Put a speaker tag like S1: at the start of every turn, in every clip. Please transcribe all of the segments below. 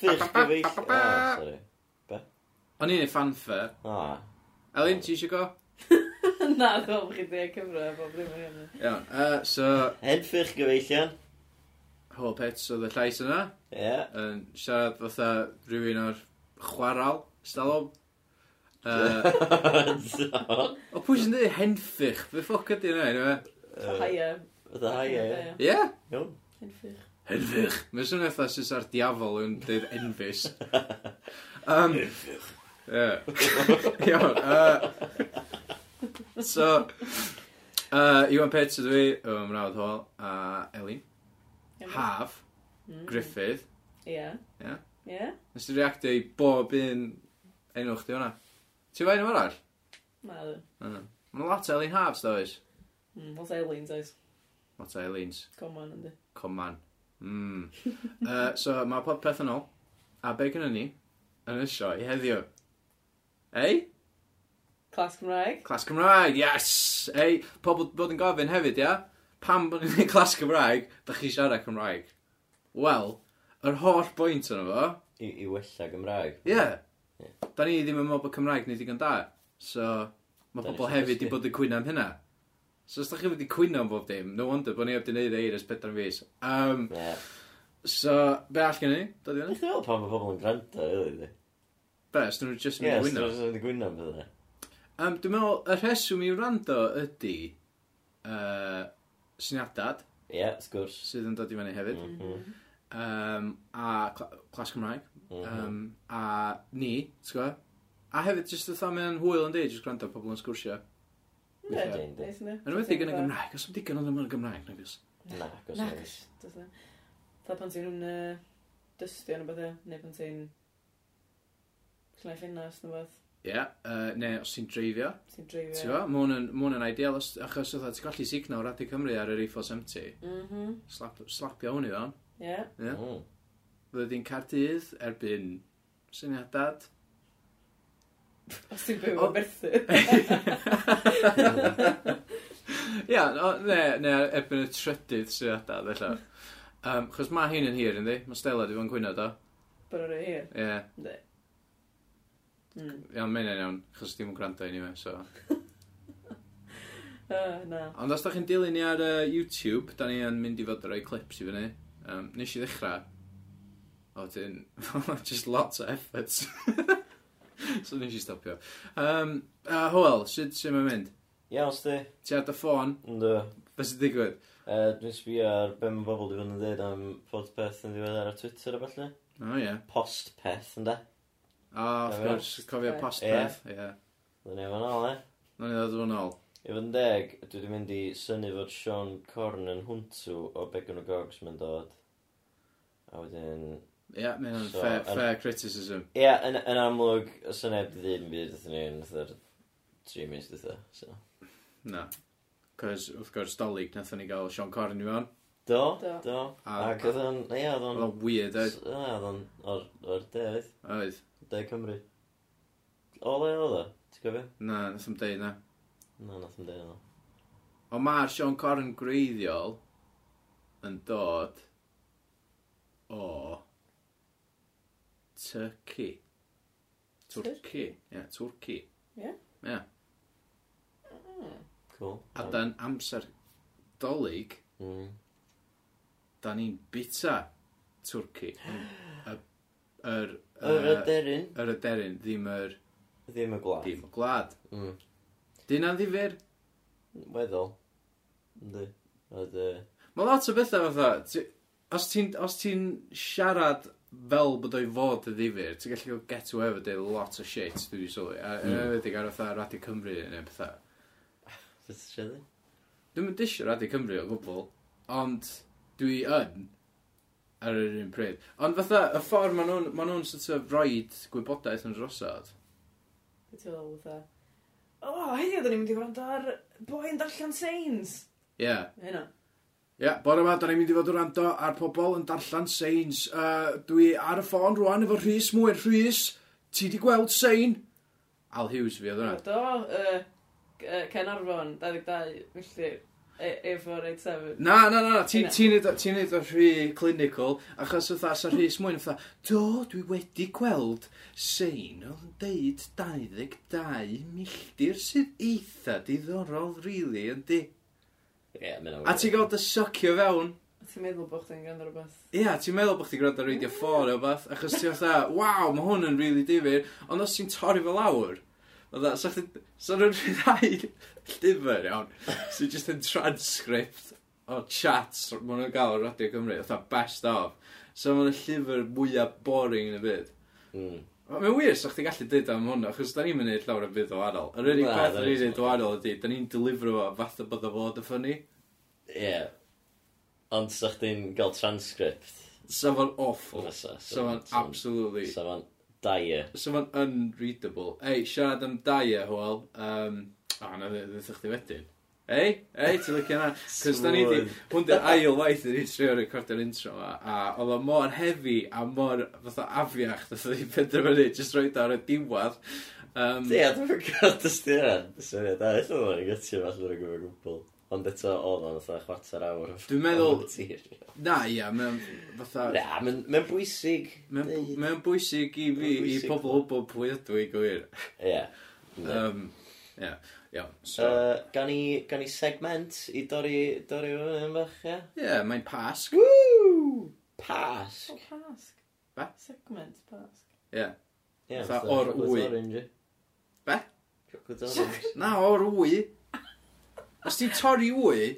S1: Ba, ba, ba.
S2: Ah, sorry.
S3: O'n i'n ei fanfare.
S2: Ah.
S3: Elin, ti eisiau go?
S4: Na, dwi'n meddwl bod chi di cyfro a bob dim ar hynny.
S3: Iawn. Uh, so,
S2: Hedffych gyfeillion.
S3: Hall Pets oedd y llais yna,
S2: Ie.
S3: yn siarad fatha rhywun o'r chwaral, stalwm. Uh,
S2: So,
S3: o pwy sy'n dweud henffych? Fe ffoc ydy yna, yna?
S4: Haia.
S2: Fytha hai e.
S4: Haia.
S3: Ie?
S2: Iawn.
S4: Henffych.
S3: Henfych. Mae'n swnio fatha sy'n ar diafol yn dweud enfys. Um, Henfych. Ie. Iawn. Uh, so, uh, Iwan Pets ydw i, o mrawd hol, a Elin, Haf,
S4: Mm.
S3: Griffith.
S4: Ie.
S3: Ie.
S4: Ie?
S3: Nes ti reactio i bob un enw chdi hwnna? Ti'n fain o'r arall?
S4: Na, dwi'n.
S3: Mae'n lot o Elin Hafs, da oes?
S4: Mm, Os Eileen's oes.
S3: Lot o Elins.
S4: Coman yndi.
S3: Come on. Mm. uh, so, mae popeth yn ôl. A be gynnu ni yn y sioe heddiw? Ei?
S4: Clas Cymraeg.
S3: Clas Cymraeg, yes! Ei, pobl bod yn gofyn hefyd, ia? Pam bod ni'n gwneud clas Cymraeg, da chi siarad Cymraeg? Wel, yr holl bwynt yna fo,
S2: I, I wella Gymraeg.
S3: ie. Yeah. Da ni ddim yn meddwl bod Cymraeg ni digon da. So, mae
S2: Da ni
S3: pobl
S2: isio
S3: hefyd
S2: dysgu.
S3: wedi bod yn cwyno am hynna. So, os da chi wedi cwyno am bob dim, no wonder bod ni e heb di wneud eir ys pedair fis. Um,
S2: Ie.
S3: so, be all gen ni? Dod i fyny?
S2: Dwi'n meddwl pan mae pobl yn gwrando, really.
S3: Be, os dyn nhw jyst yn
S2: Ie,
S3: mynd i
S2: dwi'n
S3: wyno?
S2: meddwl yn gwyno am bydda.
S3: Um, dwi'n meddwl, y rheswm i wrando ydy uh, syniadad
S2: Ie, sgwrs.
S3: sydd yn dod i fyny hefyd,
S2: Mhm.
S3: um, a cl clas Cymraeg,
S2: Mhm.
S3: um, a ni, ti'n gwybod? A hefyd, jyst y thaw mewn hwyl yn deud, jyst gwrando ar pobl yn sgwrsio.
S4: Ie,
S2: Ie.
S4: neis yndi.
S3: Yn ymwedig yn y Gymraeg, os yw'n digon yn ymwneud Gymraeg, nag oes?
S2: Na, gos
S4: Na,
S2: oes.
S4: gos- does na. Ta pan ti'n uh, dystio neu bethau, neu pan ti'n llnau ffinas neu beth,
S3: Ie, yeah, uh, neu os ti'n dreifio,
S4: ti'n dreifio.
S3: ti'n gwybod? Mae hwn yn- ma' hwn yn ideal, os- achos oedd ti'n gallu signo o Radio Cymru ar yr E470,
S4: Mhm,
S3: slap, slapio hwn i fewn.
S4: ie.
S3: Ie.
S2: Mm.
S3: Fyddi'n Cardydd erbyn syniadad,
S4: Os ti'n byw
S3: O-
S4: yn berthu.
S3: Ia, o, ne, ne, erbyn y trydydd sydd ada, ddella. Um, chos mae hyn yn hir, ynddi? Mae Stella di fo'n cwyno, do?
S4: Byr o'r hir.
S3: Ie, yeah.
S4: Ynddi. Mm.
S3: iawn, mae'n iawn, chos dim yn gwrando i ni anyway, so...
S4: Ah, Na.
S3: Ond os da chi'n dilyn ni ar uh, YouTube, da ni yn mynd i fod yn rhoi clips i fyny. Um, nes i ddechrau. O, dyn... just lots of efforts. so nes i stopio. Um, a Hwyl, sut sy'n mynd mynd?
S2: Iawn, sti.
S3: Ti ar dy ffôn,
S2: Ynddo.
S3: beth sy'n digwydd?
S2: Uh, dwi'n sbio ar be mae bobl wedi bod yn dweud am podpeth yn ddiweddar ar Twitter a falle.
S3: O, oh, ie. Yeah.
S2: Postpeth, ynda?
S3: O, wrth
S2: Ie.
S3: gwrs, cofio
S4: Ie.
S3: postpeth, ie. Yeah.
S2: Dwi'n ei fan ôl, e?
S3: Nog ni ddod o'n ôl.
S2: I fod yn deg, dwi wedi mynd i syni fod Sean Corn yn hwntw o Began o Gogs mae'n dod. A wedyn...
S3: Ie, mae hynna'n
S2: So,
S3: fair,
S2: yn-
S3: fair criticism.
S2: Ie, yn, yn amlwg, y syniad di ddim byd ydyn ni yn ydyn tri mis ydyn so.
S3: Na. Cos, wrth gwrs, dolyg, nathon ni gael Sean Corn i mewn.
S2: Do,
S4: Do.
S2: do.
S3: A-
S2: Ac oedd o'n... Ie, oedd
S3: Oedd
S2: o'n...
S3: o'n weird,
S2: s-
S3: oedd?
S2: Ie, oedd o'n... O'r, or deud.
S3: Oedd.
S2: Deud Cymru. O le oedd o? Ti'n gofio?
S3: Na, nath o'n deud na.
S2: Na, nath yn deud o.
S3: Ond mae'r Sean Corn greiddiol yn dod o Turkey. Twrci. Ie, Twrci.
S4: Ie?
S3: Ie.
S2: Cool.
S3: A dan amser dolyg,
S2: Mm.
S3: da ni'n bita Twrci. Y- Yr...
S2: Yr
S3: yy,
S2: aderyn.
S3: Yr aderyn, ddim yr...
S2: Ddim y gwlad.
S3: Dim y gwlad.
S2: Mm.
S3: Dyna ddifur.
S2: Weddol. Ynddi. Oedd... yy,
S3: Mae lot o bethau fatha, ti- os ti'n os ti'n siarad fel bod o'i fod y ddifur, ti'n gallu cael get away with a lot o shit, dwi wedi sylwi. A yn
S2: Mm.
S3: ymwneud ar fatha Radio Cymru neu bethau.
S2: Beth sy'n siarad?
S3: Dwi'n mynd disio Radio Cymru o gwbl, ond dwi yn ar yr un pryd. Ond fatha, y ffordd maen nhw'n ma nhw sort of roed gwybodaeth yn drosod.
S4: Be ti'n meddwl fatha? O, heddiw, da ni'n mynd i gwrando ar boi'n darllen seins.
S3: Ie. Yeah.
S4: Hynna.
S3: Ie, yeah, bore yma, da ni'n mynd i fod o rando ar pobl yn darllen seins. Uh, dwi ar y ffôn rwan efo Rhys Mwyr. Rhys, ti di gweld sein? Al Hughes fi oedd hwnna.
S4: Do, yy, G- yy, Caernarfon, 22 milltir. E- Efo reit sefyd.
S3: Na, na, na, ti'n
S4: Hynna.
S3: ti neud, ti neud o rhy clinical, achos oedd as ar rhys mwyn, oedd do, dwi wedi gweld sein oedd yn deud 22 milltir sydd eitha diddorol, really, yndi.
S2: Ie, mae'n
S3: A ti'n gael dy socio fewn,
S4: A Ti'n meddwl bod chdi'n gwrando rhywbeth?
S3: ia, ti'n meddwl bod chdi gwrando ar radio 4 o beth, achos ti'n fatha, waw, mae hwn yn really difyr, ond os ti'n torri fel lawr, oedd a, sa'ch ti'n rhai llyfr iawn, sy'n just yn transcript o chats, maen nhw'n gael o Radio Cymru, oedd best of. So maen nhw'n llyfr mwyaf boring yn y byd.
S2: Mm.
S3: Mae'n wir sa'ch ti'n gallu dweud am hwnna, achos da ni'n mynd i'r llawer o byd o wahanol. Yr unig
S2: Na,
S3: peth
S2: da
S3: da
S2: ni-
S3: ni'n neud o wahanol ydy, da ni'n delifro fo fath o bod o fod y ffynnu.
S2: Ie. Ond sa chdi'n gael transcript.
S3: So ma'n awful.
S2: Fysa.
S3: So ma'n absolutely...
S2: Sa fo'n dire.
S3: So ma'n unreadable. Ei, siarad am daia, hwyl. Um, o, na, ddeth chdi wedyn. Ei, ei, ti'n lycio na. Cos da ni di, hwn di'r ail waith yn ni'n trio recordio'r intro ma, a oedd o mor hefi a mor fatha afiach, dda ni penderfynu, jyst roed ar y diwad. Um,
S2: Ie, dwi'n gwybod dystyran. Sorry, da, eithaf o'n ei gytio falle o'r gwybod gwbl. Ond eto oedd o'n fatha chwarter awr. o-
S3: Dwi'n meddwl-
S2: o tir.
S3: na, ia, mae'n fatha...
S2: Na, mae'n mae'n bwysig.
S3: Mae'n mae'n bwysig i fi,
S2: Mae'n
S3: i
S2: bwysig.
S3: pobl hwbl pwy ydw i gwir.
S2: Ie. Yndi.
S3: Um, ia, iawn. So,
S2: Yy, Gan i gan i segment i dorri dorri fo yn fach, ie?
S3: ie, mae'n pasg.
S2: Woo! Pasg.
S4: O, pasg.
S3: Be?
S4: Segment, pasg.
S3: Ie.
S2: Ie,
S3: Fatha
S2: fatha
S3: o'r
S2: chocolate
S3: wy.
S2: orange, ie.
S3: Be?
S2: Chocolate orange.
S3: Na, o'r wy. Os ti'n torri wy,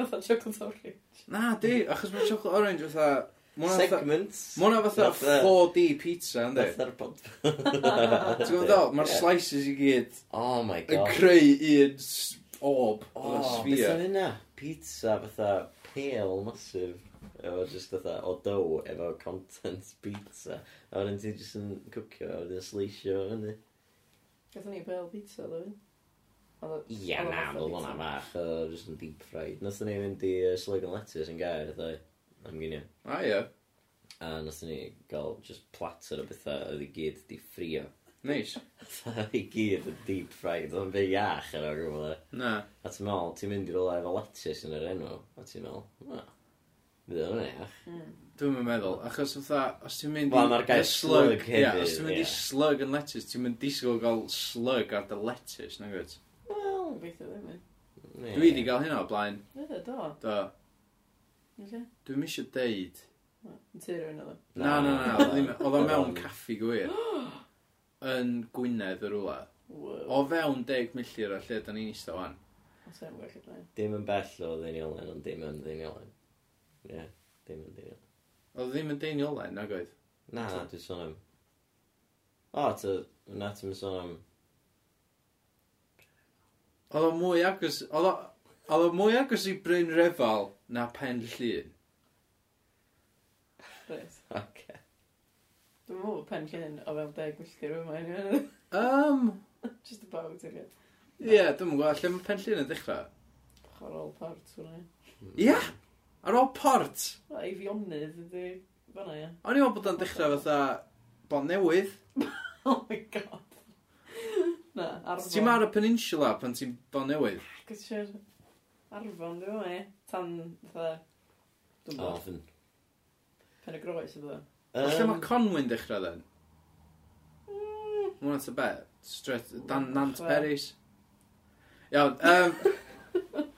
S4: Nath o'n chocolate orange.
S3: na di, achos mae chocolate orange fatha... ma' hwnna fatha-
S2: Segment.
S3: ma' hwnna fatha
S2: Fatha-
S3: 4D pizza, ynddi?
S2: Fatha'r bod.
S3: Ti'n gwybod ddol? Mae'r slices i gyd
S2: Oh my
S3: yn
S2: god.
S3: creu un s- orb,
S2: O,
S3: o
S2: beth
S3: sfia.
S2: oedd hynna? Pizza fatha pale masif. Efo just fatha o dough efo content pizza. A wedyn ti just yn cwcio a wedyn sleisio o fyny.
S4: Gatho ni bel pizza, ddo fi. Oedd o-
S2: Ia
S4: oedd
S2: na, fel
S4: o fatha pizza.
S2: hwnna fach. Oedd o just yn deep fried. Nath ni fynd i uh, Slug and Lettuce yn gair, ddau. Am gynio.
S3: A ie,
S2: A nath ni gael just platter o bethau oedd i gyd di ffrio.
S3: neis.
S2: I gyd yn deep fried, ond fe iach ar o'r gwybod e.
S3: Na,
S2: A ti'n meddwl, ti'n mynd i rola efo lettuce yn yr enw, a ti'n meddwl, na, fydd o'n iach.
S4: Hmm.
S3: Dwi'n yn meddwl, achos fatha, os ti'n mynd
S2: Wel, ma'r gair
S3: y
S2: slug
S3: ie,
S2: hefyd,
S3: os ti'n mynd
S2: ie.
S3: i slug yn lettuce, ti'n mynd disgwyl gael slug ar dy lettuce, na gwrs.
S4: Wel, gobeithio ddim, ie.
S2: Ie.
S3: Dwi wedi gael hynna o blaen,
S4: Ie, do.
S3: do.
S4: Ie.
S3: Dwi'n misio deud.
S4: Yn tŷ rhywun oedd o.
S3: Na, na, na, oedd ddim- oedd o mewn caffi gwir. Yn Gwynedd yr wla.
S4: Wow.
S3: O fewn 10 milltir o lle, da ni'n eistedd wan.
S4: Os e'n gwell i blaen.
S2: Dim yn bell o ddeiniolen, ond dim yn ddeiniolen. Ie, dim yn ddeiniolen.
S3: Oedd ddim yn deunio olein, nag oedd?
S2: Na, na, dwi'n sôn am... O, ta, na, ti'n sôn am...
S3: Oedd o mwy agos, oedd o- oedd o mwy agos i Bryn Refal na Pen Llun.
S4: Reit.
S2: Oce.
S4: Dwi'n meddwl bod pen llun o fewn deg milltir yma anyway.
S3: Um,
S4: Just about, ie.
S3: ie, yeah, dwi'n gwybod, lle mae Pen Llun yn dechrau?
S4: Chor ôl part, hwnna.
S3: Ie, ar ôl port.
S4: Wel, ei fionydd ydi. Fanna, ie.
S3: O'n i'n meddwl bod o'n dechrau fatha bon newydd.
S4: Oh my god. Na, arfon.
S3: Ti'n mar y peninsula pan ti'n bon newydd?
S4: Gwysir. Arfon, dwi'n meddwl, ie. Tan, fatha... Dwi'n meddwl,
S2: Ofn.
S4: pen y groes ydi.
S3: Lle
S2: Yym,
S3: mae Conwy'n dechrau then? Mwna ta be? Stret, dan Nant
S4: Wel.
S3: Peris? Iawn, um,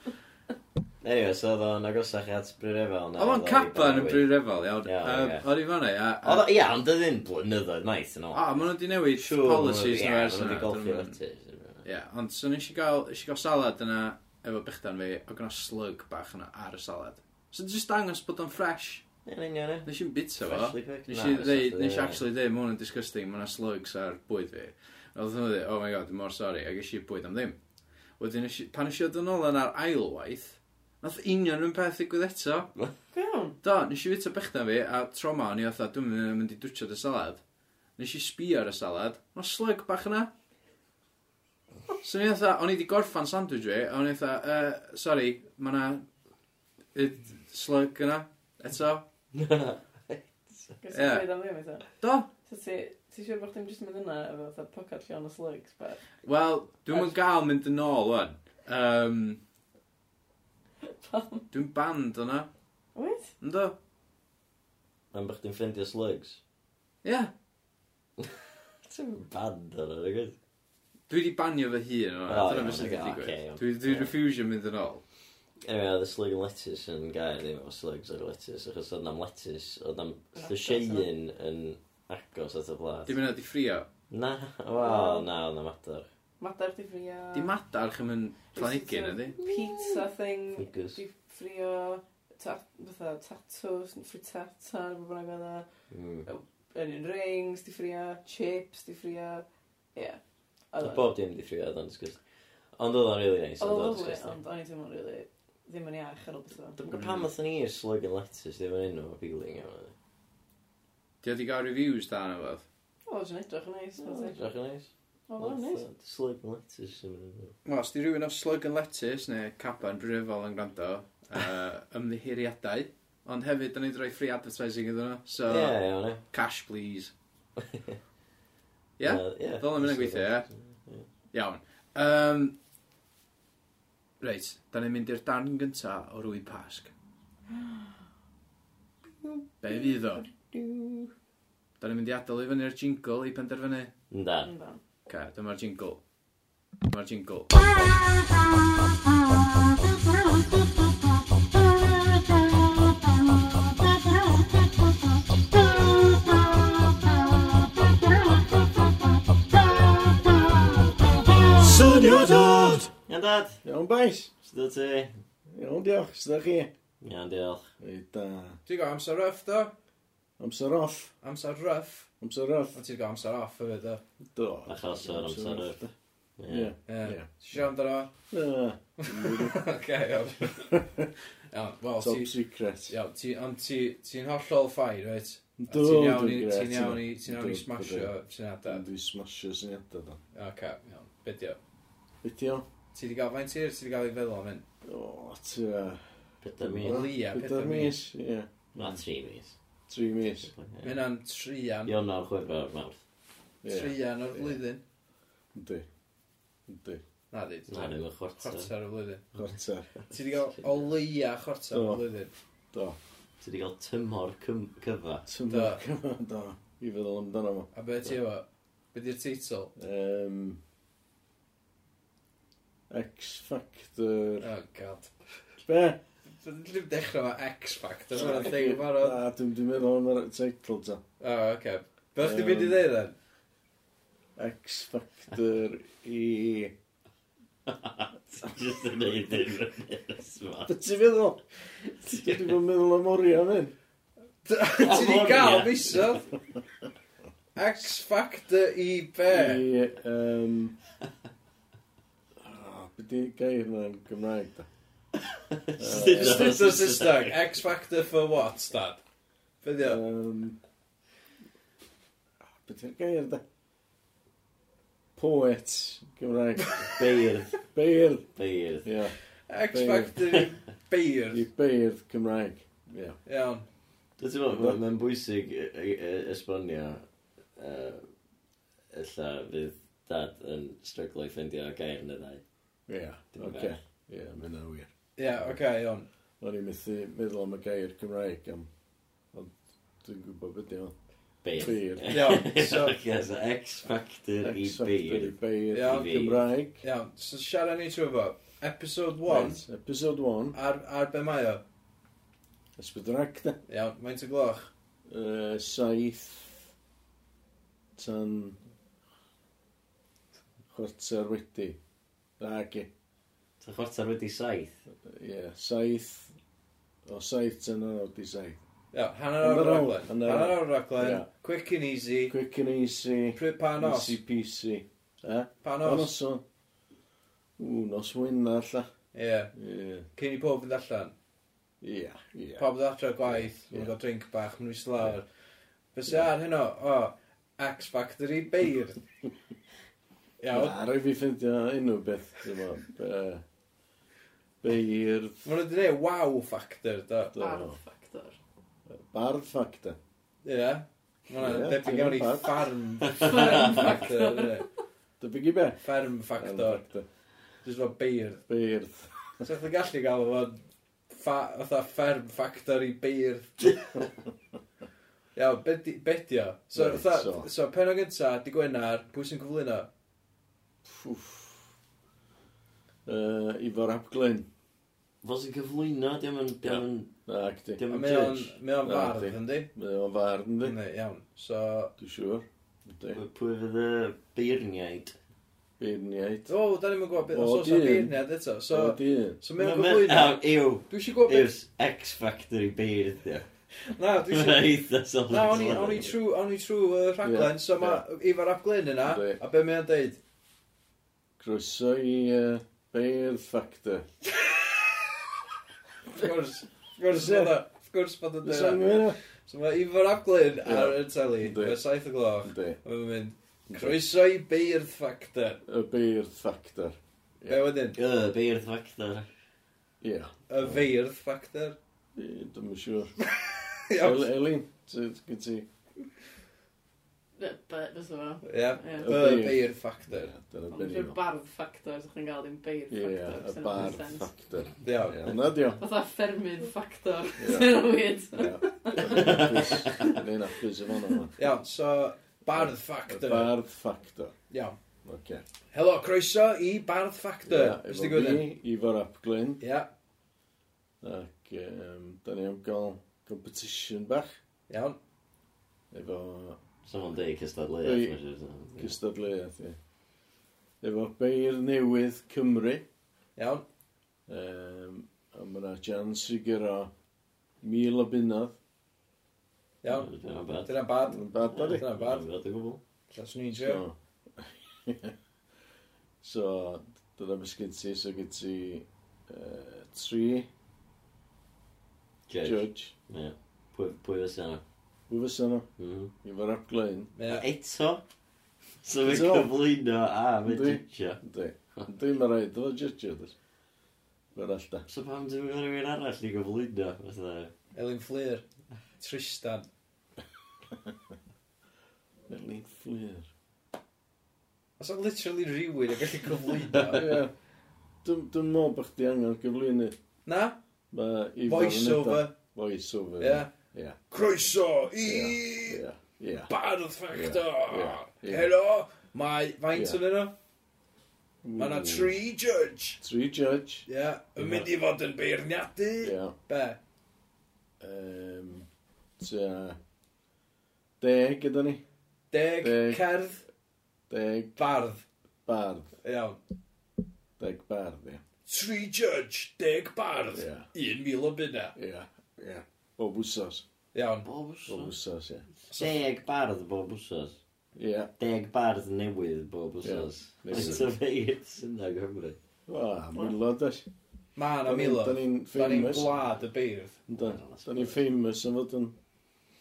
S2: Anyway, so oedd o'n agosach at Bryrefel.
S3: oedd o'n caban yn Bryn Refal, iawn.
S2: Iawn,
S3: Yym,
S2: ocê.
S3: O'n i fanna, ia. a-
S2: Oedd o, ia, ond oedd un blynyddoedd maith yn ôl.
S3: A, maen nhw wedi newid Ah, policies nhw ers
S2: yna. Ie, maen nhw wedi
S3: yna. dyn nhw-
S2: golfio lettuce.
S3: Ie, ond so nes i gael, nes i gael salad yna efo bychdan fi, o gynna slug bach yna ar y salad. So just dangos bod o'n fresh.
S2: Yn union, ie.
S3: Nes i'n bita fo.
S2: Freshly picked.
S3: Nes
S2: Na,
S3: i
S2: fysa
S3: ddeud,
S2: chdi
S3: nes i
S2: ddim.
S3: actually ddeud, mae hwn yn disgusting, mae yna slugs ar bwyd fi. A Oedd nhw ddeud, oh my god, dwi'n mor sori, ac eisiau bwyd am ddim. Wedyn, nes i- pan eisiau dod yn ôl yn ar ailwaith, nath union yn peth ddigwydd eto.
S4: Gwawn.
S3: Do, nes i bita bychdan fi, a tro ma o'n i oedd, dwi'n mynd- mynd i dwtio dy salad. Nes i sbio ar y salad, mae slug bach yna. So ni oedd, o'n i wedi gorffan sandwich fi, a o'n i oedd, uh, sorry, mae yna yy, slug yna, eto.
S4: Gwysir
S3: Ie.
S4: dweud am ddim, eto.
S3: Do,
S4: So ti, ti siwr bod chdi'n just mynd yna efo fatha pocad llawn o slugs, but...
S3: Wel, dwi'm yn gael mynd yn ôl, wan. Um,
S4: Pam?
S3: Dwi'n band o'na.
S4: Wyt?
S3: Ynddo?
S2: Mae'n bych chi'n ffeindio slugs.
S3: Ie.
S2: Ti'n band ar yna, gwyd?
S3: Dwi wedi banio fy hun
S2: O,
S3: o'na. Dyna
S2: iawn,
S3: beth sy'n
S2: ocê,
S3: digwydd.
S2: ocê, iawn.
S3: Dwi dwi
S2: Ie.
S3: refusio mynd yn ôl.
S2: Anyway, oedd y slug and lettuce yn gair ddim o slugs ar y lettuce, achos oedd na'm lettuce, oedd na'm
S4: Yn agos,
S2: llysiein yn agos at y blat.
S3: Dim yna di ffrio.
S2: Na, wel, na, oedd na'm adar.
S4: Madar di frio.
S3: Di madarch yn mynd planigyn ydi.
S4: Pizza thing.
S2: Fingers.
S4: Di frio. Ta, fatha tatws, frittata, neu bod yna gyda.
S2: Mm.
S4: Onion rings, di frio. Chips, di frio. Ie. Oedd
S2: Oedd
S4: o'n-
S2: bob dim di ffrio, oedd o'n disgust. Ond oedd o'n really nice,
S4: Oedd
S2: oedd
S4: o'n
S2: o'n
S4: lyfli,
S2: disgust.
S4: ond o'n i ddim yn rili, ddim yn iach ar ôl beth o'n.
S2: Dwi'n gwybod pam oedd ni i'r slug and lettuce, ddim yn enw appealing iawn oedd.
S3: Di wedi gael reviews da yna fath.
S4: O, oedd yn edrych yn neis. Oedd
S2: Drach yn neis.
S4: o'n neis.
S2: Slug and lettuce yn mynd.
S3: Wel, os di rhywun o slug and lettuce neu caban brifol yn gwrando, uh, ymddihiriadau. Ond hefyd, da ni'n rhoi free advertising iddyn nhw. So,
S2: Ie, iawn, ie.
S3: cash please. Ie? Fel yna'n mynd yn gweithio,
S2: ie?
S3: Iawn. Um, reit, da ni'n mynd i'r darn gynta o'r wy pasg. Be fydd o? Da ni'n mynd i adael i fyny'r jingle i penderfynu.
S2: Da.
S4: Yndan.
S3: Ca, dyma'r jingle. Dyma'r jingle.
S1: Sonio dod!
S2: Iawn, dad.
S1: Iawn bais,
S2: Sdo ti?
S1: iawn diolch, sydd chi?
S2: Iawn, diolch.
S1: Ei da,
S3: Ti'n gael amser rough, do?
S1: amser off,
S3: Amser rough.
S1: amser off,
S3: Ond ti'n gael amser off, hefyd, do?
S1: do.
S2: Achos o'r amser off.
S1: Ie,
S3: Ie.
S1: Ie.
S3: Ti'n siarad amdano?
S1: Na,
S3: Oce, iawn. Iawn, wel,
S1: top
S3: ti...
S1: secret.
S3: Iawn, ti, ond ti- ti'n hollol ffain, reit? A
S1: Do,
S3: Ti'n iawn i,
S1: dwi'n grêt,
S3: ti'n iawn i,
S1: yndw.
S3: ti'n iawn i
S1: Dwi'n-
S3: smasho syniadau.
S1: Dwi'n smasho syniadau da.
S3: Oce, iawn, byddio.
S1: Ydi o?
S3: Ti di gael fain tir, ti di gael ei feddwl am hyn?
S1: O, tira.
S2: Peta mis.
S3: Lia,
S1: Peda
S3: peder
S1: mis, ie.
S2: Na, tri mis.
S1: Tri mis.
S3: Mae hynna'n trian,
S2: Iawn o'r chwebar mawrth.
S1: Ie.
S3: trian o'r
S1: Ie.
S3: flwyddyn.
S1: Yndi. Yndi.
S3: Na di,
S2: Na, ddim yn chwarter.
S3: chwarter o'r flwyddyn.
S1: Chwarter.
S3: Ti di gael o leia chwarter
S1: Do.
S3: o'r flwyddyn.
S1: Do.
S2: Ti wedi cael tymor cym- cyfa.
S1: Tymor cyfa, do. I feddwl amdano fo.
S3: A be ti efo? Be di'r teitl?
S1: Um, X Factor.
S3: Oh, god.
S1: Be?
S3: Dwi'n dechrau ma X Factor, mae'n thing yn barod.
S1: Na, dwi'n dwi'n meddwl hwnna'r teitl ta.
S3: O, oce. Be chdi
S1: Yym.
S3: mynd i ddeud then?
S1: X Factor i...
S2: Just yn neud i'n rhywbeth yma.
S1: Be ti'n feddwl? Dwi
S2: Ti'n
S1: ddim yn meddwl am oria fan hyn.
S3: Ti di
S2: Ammonia.
S3: gael misodd? X Factor i be?
S1: I... Um, oh, be di gair yna'n Gymraeg da?
S3: Ystod o Saesneg, X Factor for what, dad? Be di o?
S1: Um, be di'r gair da? Poet Gymraeg.
S2: Beirdd.
S1: Beirdd.
S2: Beirdd.
S1: Ie.
S3: X
S1: beirdd.
S3: Factor i beirdd.
S1: I beirdd Cymraeg. Ie.
S3: Iawn.
S2: Dwi'n meddwl, mae'n bwysig yy, yy, esbonio yy, ella fydd dad yn stryglo i ffeindio gair neu ddau.
S1: Ie.
S2: Dim yn
S1: Oce.
S2: bell.
S1: Ie, mae'n awyr.
S3: Ie, oce, iawn.
S1: O'n i'n methu meddwl am y gair Cymraeg am... Ond dwi'n gwybod beth yw.
S2: Beirdd.
S1: Beirdd.
S3: Iawn, so-
S2: Yes, X Factor i
S1: X Factor i
S2: beirdd.
S1: beirdd
S3: Iawn.
S1: Cymraeg.
S3: Iawn, so siarad ni trwy fo. Episode 1,
S1: Right, Episode 1.
S3: ar, ar be mae o?
S1: Ysbydrac da.
S3: Iawn, mae'n y gloch.
S1: Uh, saith. Tan. Chwarter wedi. Ag i.
S2: Ta chwarter wedi saith.
S1: Ie, saith. O saith tan ar wedi saith.
S3: Iawn, hanner awr
S1: Hanner awr,
S3: raglen.
S1: hanner
S3: Hanner
S1: awr.
S3: awr raglen,
S1: Ie.
S3: quick and easy.
S1: Quick and easy.
S3: Pryd pa nos?
S1: Easy peasy. Eh?
S3: Pa
S1: O
S3: nos?
S1: noson. Ww, nos wyna alla.
S3: Ie,
S1: Ie.
S3: cyn i pob yn allan.
S1: Ie, ie.
S3: Pob yn adra gwaith,
S1: Ie.
S3: mae'n gael drink bach, mae'n wis lawr. Fysi ar hynno, o, X Factor i beirdd. Iawn,
S1: Na, rai fi ffeindio unrhyw beth, dwi'n meddwl. e, Beirdd.
S3: Mae nhw wedi gwneud wow factor, da.
S1: Do.
S4: Barf factor.
S1: Bardd ffactor.
S3: Ie. Mae
S1: Ie,
S3: nhw'n debyg
S1: ti'n
S3: iawn i
S1: gwbod.
S3: farm farm factor. ynde?
S1: Debyg i be?
S3: Farm factor. Jyst fel beirdd.
S1: Beirdd.
S3: So chdi'n gallu gael o'n ffa, fatha fferm factory beirdd. Iawn, be di- be di o? So,
S1: Reit,
S3: fatha,
S1: so.
S3: so. penod gynta, di gwenar, pwy sy'n cyflwyno?
S1: Uh, Ifor Ap Glyn.
S2: Fo sy'n cyflwyno, diolch yn... Diolch yn...
S1: Na, gdi.
S2: Diolch
S3: A
S2: yn
S3: Mae o'n
S2: judge.
S3: mae o'n
S1: Na,
S3: fardd,
S1: yndi.
S3: yndi?
S1: Mae o'n fard yn di.
S3: Yndi, iawn. So,
S1: Dwi'n siŵr. Yndi.
S2: Pwy fydd y beirniaid?
S1: Beirniaid.
S3: o, oh, da ni'n gwybod beth,
S1: O,
S3: os oes o'n
S1: dyn.
S3: beirniad eto. So,
S1: O, dyn.
S3: so mae o'n cyflwyno.
S2: Ah, Ew,
S3: Dwi eisiau gwybod beth...
S2: yw's X Factor i beirdd, ia.
S3: Na, dwi
S2: Dwi'n
S3: eisiau...
S2: eitha sylwi.
S3: Na, o'n i- o'n i trw, o'n i trw uh, rhaglen, so mae Ifar Ap Glyn yna,
S1: Yndi.
S3: a be mae o'n deud?
S1: Croeso i uh, Beirdd Factor.
S3: Wrth gwrs, wrth gwrs, bod o- wrth gwrs bod o'n
S1: Dwi'n
S3: deud.
S1: mynd o?
S3: So mae Ifar Ap Glyn
S1: Ie.
S3: ar y teli,
S1: Yndi.
S3: mae saith o gloch,
S1: Yndi.
S3: a mae'n mynd, croeso i beirdd factor.
S1: Y Beirdd Factor. Ie.
S3: Be wedyn?
S2: Y beirdd Factor.
S1: Ie.
S3: Y feirdd factor.
S1: Yy, Dwi'm yn siŵr.
S3: Iawn.
S1: El- Elin, ti'n gyd ti?
S4: Bet, fes o.
S3: Ie,
S4: Ie.
S3: y beirdd factor.
S1: Ie, Dyna
S4: Ond
S1: beth
S4: yw'r
S1: ni'n
S4: bardd factor, os ydych chi'n gael ddim beirdd
S1: Ie,
S4: factor.
S1: y
S4: so it
S1: bardd
S4: makes sense.
S1: Factor.
S3: Iawn.
S1: Ie, Hwnna di o.
S4: Fatha ffermydd factor.
S1: Ie.
S4: Sy'n weird.
S1: Dwi'n apus efo hwnna.
S3: Iawn, so bardd factor.
S1: Bardd Factor.
S3: Iawn.
S1: Oce.
S3: Helo, croeso i bardd factor.
S1: Ie,
S3: Bys
S1: efo
S3: di gwybod? e?
S1: fi, Ifor Ap Glyn,
S3: Ie,
S1: ac um, da ni am gael competition bach
S3: iawn.
S1: efo
S2: Someone dweud
S1: Ei.
S2: cystadleuaeth. ma' siŵr.
S1: cystadleuaeth i. Efo Beir Newydd Cymru,
S3: Iawn.
S1: um, a mae yna jans i gyro mil o bunodd.
S3: Iawn.
S2: Dyna bad.
S3: Dyna bad.
S1: Yn bad, da di?
S3: Dyna bad.
S2: Dyna bad o gwbl.
S3: Llaswn i'n siw.
S1: So, so dyna beth gen ti, so gen ti uh, tri
S2: Judge.
S1: judge.
S2: Ie. Pwy pwy fysa yna?
S1: Fwy fysa nhw,
S2: Mhm.
S1: Ifor Ap Glyn.
S2: A
S3: Ie.
S2: Eto? So fe
S1: Eto?
S2: cyflwyno a fe
S1: Yndi.
S2: judgeio.
S1: Yndi. Yndi, mae'n rhaid, dyma judge oedd. Mae'n all da.
S2: So pam dwi'n gwneud rhywun arall i gyflwyno? Fatha,
S3: Elin Fflir. Tristan.
S1: Elin Fflir.
S3: Os o'n literally rhywun yn gallu cyflwyno.
S1: Ie. Dwi'n dwi'n meddwl bod chdi angen gyflwynu.
S3: Na?
S1: Mae Ifan
S3: Voice over.
S1: Voice over.
S3: Ie.
S1: Ie.
S3: Croeso i
S1: Ie. Ie.
S3: bardd
S1: Ie,
S3: factor.
S1: ie, ie.
S3: Helo. Mae faint
S1: Ie.
S3: yn yno? Mae yna tri judge.
S1: Tri judge.
S3: Ie. Yn mynd i fod yn beirniadu.
S1: Ie.
S3: Be?
S1: Ehm. Tua. Deg gyda ni.
S3: Deg,
S1: Deg.
S3: cerdd
S1: Deg
S3: bardd.
S1: bardd.
S3: Iawn.
S1: Deg bardd, ie.
S3: Tri judge, deg bardd.
S1: Ie.
S3: Un mil o bunna.
S1: Ie. Ie. Bob wsos.
S3: Iawn.
S2: bob
S1: Bob
S2: wsos.
S1: wsos, ie.
S2: Deg bardd bob wsos.
S1: Ie.
S2: Deg bardd newydd bob wsos.
S1: Ie, newydd.
S2: Eto fe i'r synda Gymru.
S1: O, mwylod, oes.
S3: Ma na
S1: Da ni-
S3: milo.
S1: da ni'n
S3: Da ni'n
S1: famous.
S3: gwlad y beirdd.
S1: Da, da ni'n famous yn fod yn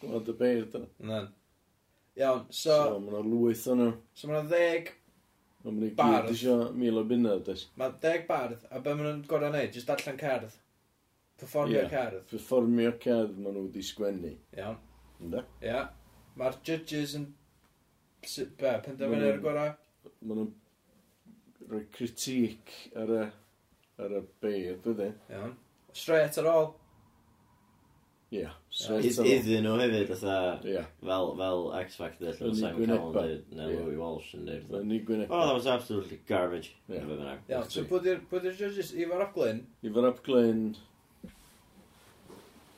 S1: gwlad y beir da.
S3: Nen. Iawn,
S1: So,
S3: so,
S1: mae yna lwyth o'n nhw.
S3: so mae yna ddeg,
S1: Mae nhw'n
S3: Bardd.
S1: gyd isio mil o bunnau, does.
S3: mae deg bardd, a be maen nhw'n gorau neud, jyst darllen cerdd. Performio
S1: Ie.
S3: cerdd.
S1: Performio cerdd maen nhw wedi sgwennu.
S3: Iawn,
S1: Ynda?
S3: ia. Mae'r judges yn, s- be, penderfynu'r
S1: nhw'n-
S3: gorau.
S1: Maen nhw'n rhoi critic ar y, ar y beir, dwi
S3: Iawn. Straight ar ôl.
S1: Ie.
S2: Is-
S1: straight ar ôl.
S2: Iddyn nhw hefyd, fatha,
S1: Ie.
S2: fel, fel X Factor,
S1: Yn
S2: fel
S1: eu
S2: Simon Cowell
S1: gwyneba.
S2: yn dweud, neu
S1: Ie.
S2: Louis Walsh yn dweud.
S1: Mae'n ni gwneud.
S2: Oh, that was absolutely garbage.
S1: Ie.
S2: Neu be bynnag.
S3: Iawn, so pwy 'di'r- pwy 'di'r judges? Ifar Ap Glyn.
S1: I fyr ap glyn.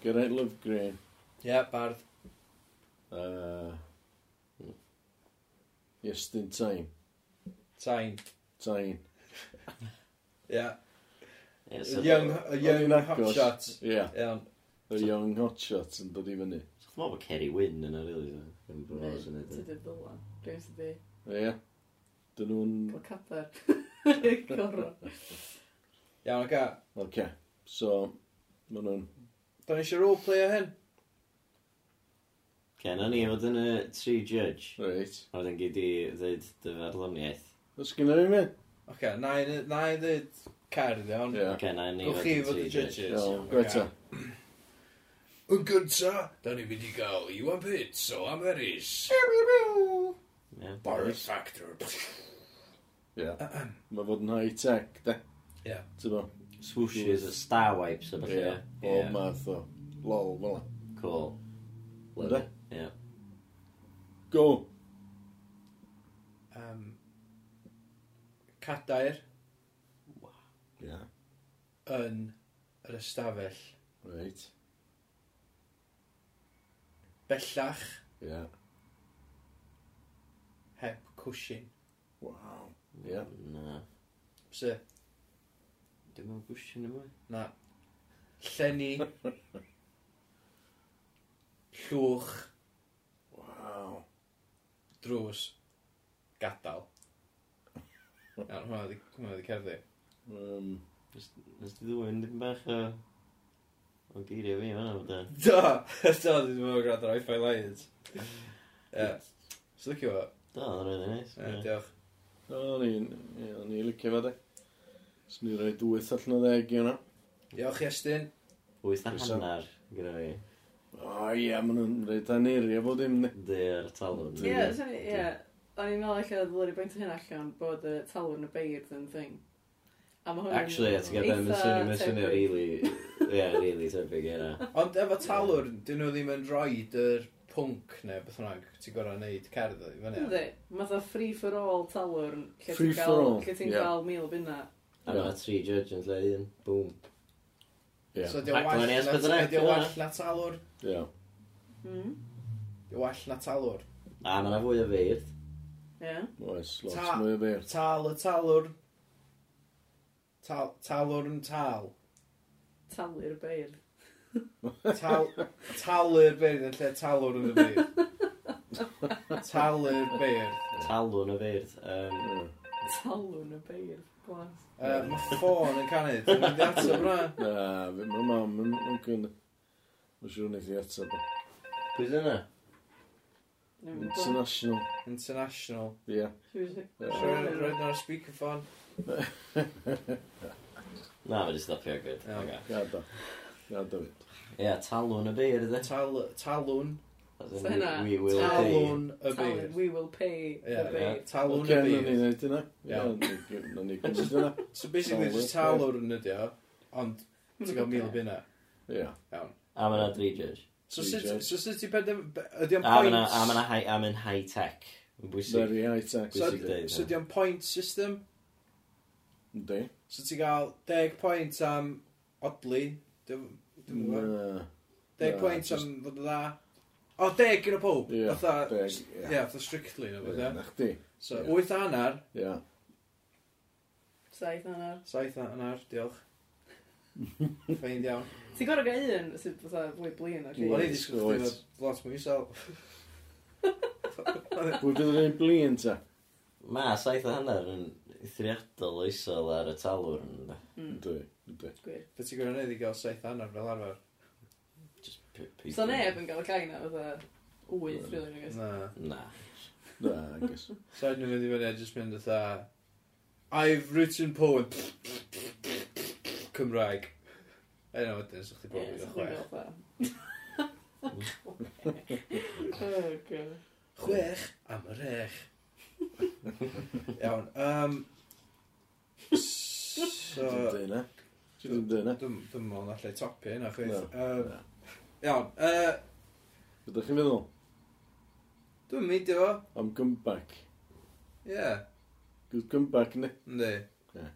S1: Geraint Lyfgren.
S3: Ie, bardd.
S1: A... hmm. Iestyn Tain.
S3: Tain.
S1: Tain.
S3: Ie.
S2: Ie, so-
S3: A Young, a young
S1: Oedd hi'n agos.
S3: hotshot.
S1: Ie.
S3: Iawn.
S1: Y young hotshot yn dod i fyny.
S2: So Ch'n meddwl bod Kerry Wyn yna, really, so. Yn bod
S4: Neu,
S2: os yn
S4: Ti
S2: edrych.
S4: di dylan. Rwy'n sydd wedi
S1: Ie. Dyn nhw'n...
S4: cael cadar. Gorro.
S3: Iawn, oce.
S1: Oce. So, maen nhw'n...
S3: Da ni eisiau roleplay o hyn?
S2: Ken, o'n i fod yn y tri judge.
S1: Reit.
S2: A wedyn gyd i ddweud dyfarloniaeth.
S1: Os gynnu fi mynd?
S3: Oce, na i ne- na i ddweud cerdd iawn.
S1: Ie.
S2: Ken, a ni
S3: Gwch chi fod y
S2: judge.
S3: judges.
S1: Iawn,
S3: Ocê.
S1: Gweta.
S3: Yn gynta, da ni'n mynd i gael Iwan Pits o Ameris.
S2: Ie.
S3: Barrett Factor.
S1: Ie. Mae fod yn high-tech, de?
S3: Ie.
S1: Ti'n bo?
S2: swooshes a star wipes a beth
S1: Ie,
S2: yeah.
S1: bob math o lol fel 'na.
S2: Cool. Love
S1: Ynde?
S2: it. Yeah.
S1: Go!
S3: Um, cadair
S1: Ie,
S3: yn yr ystafell.
S1: reit.
S3: Bellach
S1: Ie,
S3: heb cwsyn.
S1: waw. Ie,
S2: Na.
S3: Sy?
S2: Dim ond gwsyn yma.
S3: Na. Llenni. llwch.
S1: waw.
S3: Drws. Gadal. Iawn, hwnna wedi, hwnna wedi cerddi.
S1: Um,
S2: Nes ti ddwy'n dim bach o... O geiriau fi yma, fydda.
S3: Do! Do, dwi'n meddwl gwrando ar Wi-Fi Lions. Ie. So, dwi'n fo?
S2: Do, oedd yn rhaid yn neis.
S3: Ie, Diolch.
S1: o'n i'n, ie, o'n i'n licio fe de. Swn i'n rhoi dwyth allan o ddeg i hwnna.
S3: Diolch, Iestyn.
S2: Wyth na
S1: Croeso.
S2: hannar gyda fi.
S1: O ie, maen nhw'n rhaid anerio bod dim ne.
S2: Dy'r talwn.
S4: Ie, so ni- ie. O'n i'n meddwl eich oedd lyri bwynt hyn allan bod y talwn y beirdd yn thing. A mae hwn yn
S2: Actually, ie, ti'n gael ddim yn
S4: eitha
S2: swnio, mae'n swnio
S4: tebyg.
S2: really... Ie, really tebyg i hynna.
S3: Ond efo talwr, dyn nhw ddim yn roed yr pwnc neu beth hwnnw, ti'n gorau neud cerdd i fyny.
S4: Ynddi, math o free for all talwrn lle
S1: Free
S4: ti'n
S1: for
S4: cael,
S1: all,
S4: lle ti'n
S1: ie.
S4: cael mil o bunna.
S2: A mae tri judge yn lle un. Boom.
S1: Ie,
S3: So diolch
S2: Ac
S3: wall
S2: ma'n
S3: na,
S2: nes bydda
S3: ydi o
S2: na.
S3: wall na talwr,
S1: ie.
S2: Hmm?
S4: Mm,
S3: diolch wall na talwr.
S2: A mae yna fwy o feirdd.
S4: ie.
S1: Oes, lot
S3: Ta-
S1: mwy o beirdd.
S3: Tal y talwr, tal, talwr yn tal.
S4: Talu'r beirdd.
S3: tal talu'r beirdd yn lle talwr yn y beirdd. Talu'r beirdd.
S2: Talwn o feirdd. Um,
S1: Ie.
S4: Talwn y beirdd. Glas.
S3: Uh, mae ffôn yn canu, dwi'n mynd i ato fyna.
S1: Na, fe- ma mam yn yn gynnu. Mae'n siŵr wneud i atab. o.
S2: Pwy dyna?
S4: Neu mae'n glas.
S1: International.
S3: International.
S1: Ie.
S4: Seriously.
S3: Sure, roed nhw'n speakerphone.
S2: Na, fe di stopio gyd.
S3: Iawn.
S2: Oce.
S1: Gada. Gada fi.
S2: Ie, talwn y beirdd ydy.
S3: Tal, talwn,
S2: As in,
S4: So hynna,
S2: we will pay.
S3: talwn y beirdd.
S4: Talon, we will pay
S3: Ie,
S4: the
S2: ie.
S4: beirdd.
S3: Talwn
S1: Oce,
S3: y
S1: na ni
S3: byd.
S1: wneud hynna. Ie,
S3: Iawn.
S1: na ni gwneud hynna.
S3: So basically,
S1: Talwr,
S3: just talwr yn ydi o, ond ti'n cael mil o bunna.
S1: Ie.
S2: A mae yna dri judge.
S3: So
S1: Three
S3: sut
S1: jobs.
S3: so sut ti'n penderfyn... Ydi o'n
S2: A mae yna- a mae yna
S3: points...
S2: high- a mae'n high tech. Yn bwysig.
S1: Very high tech.
S3: So-
S2: Bwysig deud.
S3: So
S2: hynna.
S3: ydi o'n point system.
S1: Ynddi.
S3: So ti'n cael 10 point am odli. Dwi'n gwybod.
S1: Na.
S3: 10
S1: na,
S3: point
S1: just-
S3: am fod yn dda. O, 10 gyda pob.
S1: Ie,
S3: Fatha...
S1: deg,
S3: s-
S1: ie.
S3: Ie, fatha strictly nhw.
S1: Ie,
S3: fatha.
S1: Na chdi.
S3: So
S1: Ie.
S3: 8 a hannar,
S1: Ie.
S4: Saith hanner.
S3: 7 a hannar, diolch. Fein iawn.
S4: Ti'n gorau gael un sydd fatha fwy blin o'r
S1: Ie.
S3: O'n i
S4: rhaid.
S3: ddisgwyl chdi
S1: Wyth.
S3: fod lot mwy sel.
S1: Pwy fydd yn ei blin ta?
S2: Ma, saith a hanner yn eithriadol oesol ar y talwr yn dda.
S4: Mm,
S1: Ynddi. Ynddi.
S4: gwir.
S3: Fe ti'n gwneud i gael 7 a hannar fel arfer?
S2: Just p- people.
S4: So neb yn cael y cain o fatha wyth, really, I guess.
S3: Na.
S2: Na.
S1: Na, I guess.
S3: So nhw'n mynd i fyny a jyst mynd ytha I've written poem Cymraeg A yna wedyn sy'ch chi bod
S4: Ie,
S3: yn
S4: something
S3: chwech
S4: fel that. Oh, God.
S3: Chwech am yr ech Iawn um, So
S1: Ynddi na. Ynddi na.
S3: Dwi'n dwi'n meddwl na lle e topi yna chweith
S1: Na,
S3: Yym,
S1: na.
S3: Iawn yy,
S1: Ydych chi'n feddwl?
S3: Dwi'n meidio fo
S1: Am gymbac.
S3: Ie
S1: Gwyd gymbac ni.
S3: Yndi
S1: Ie.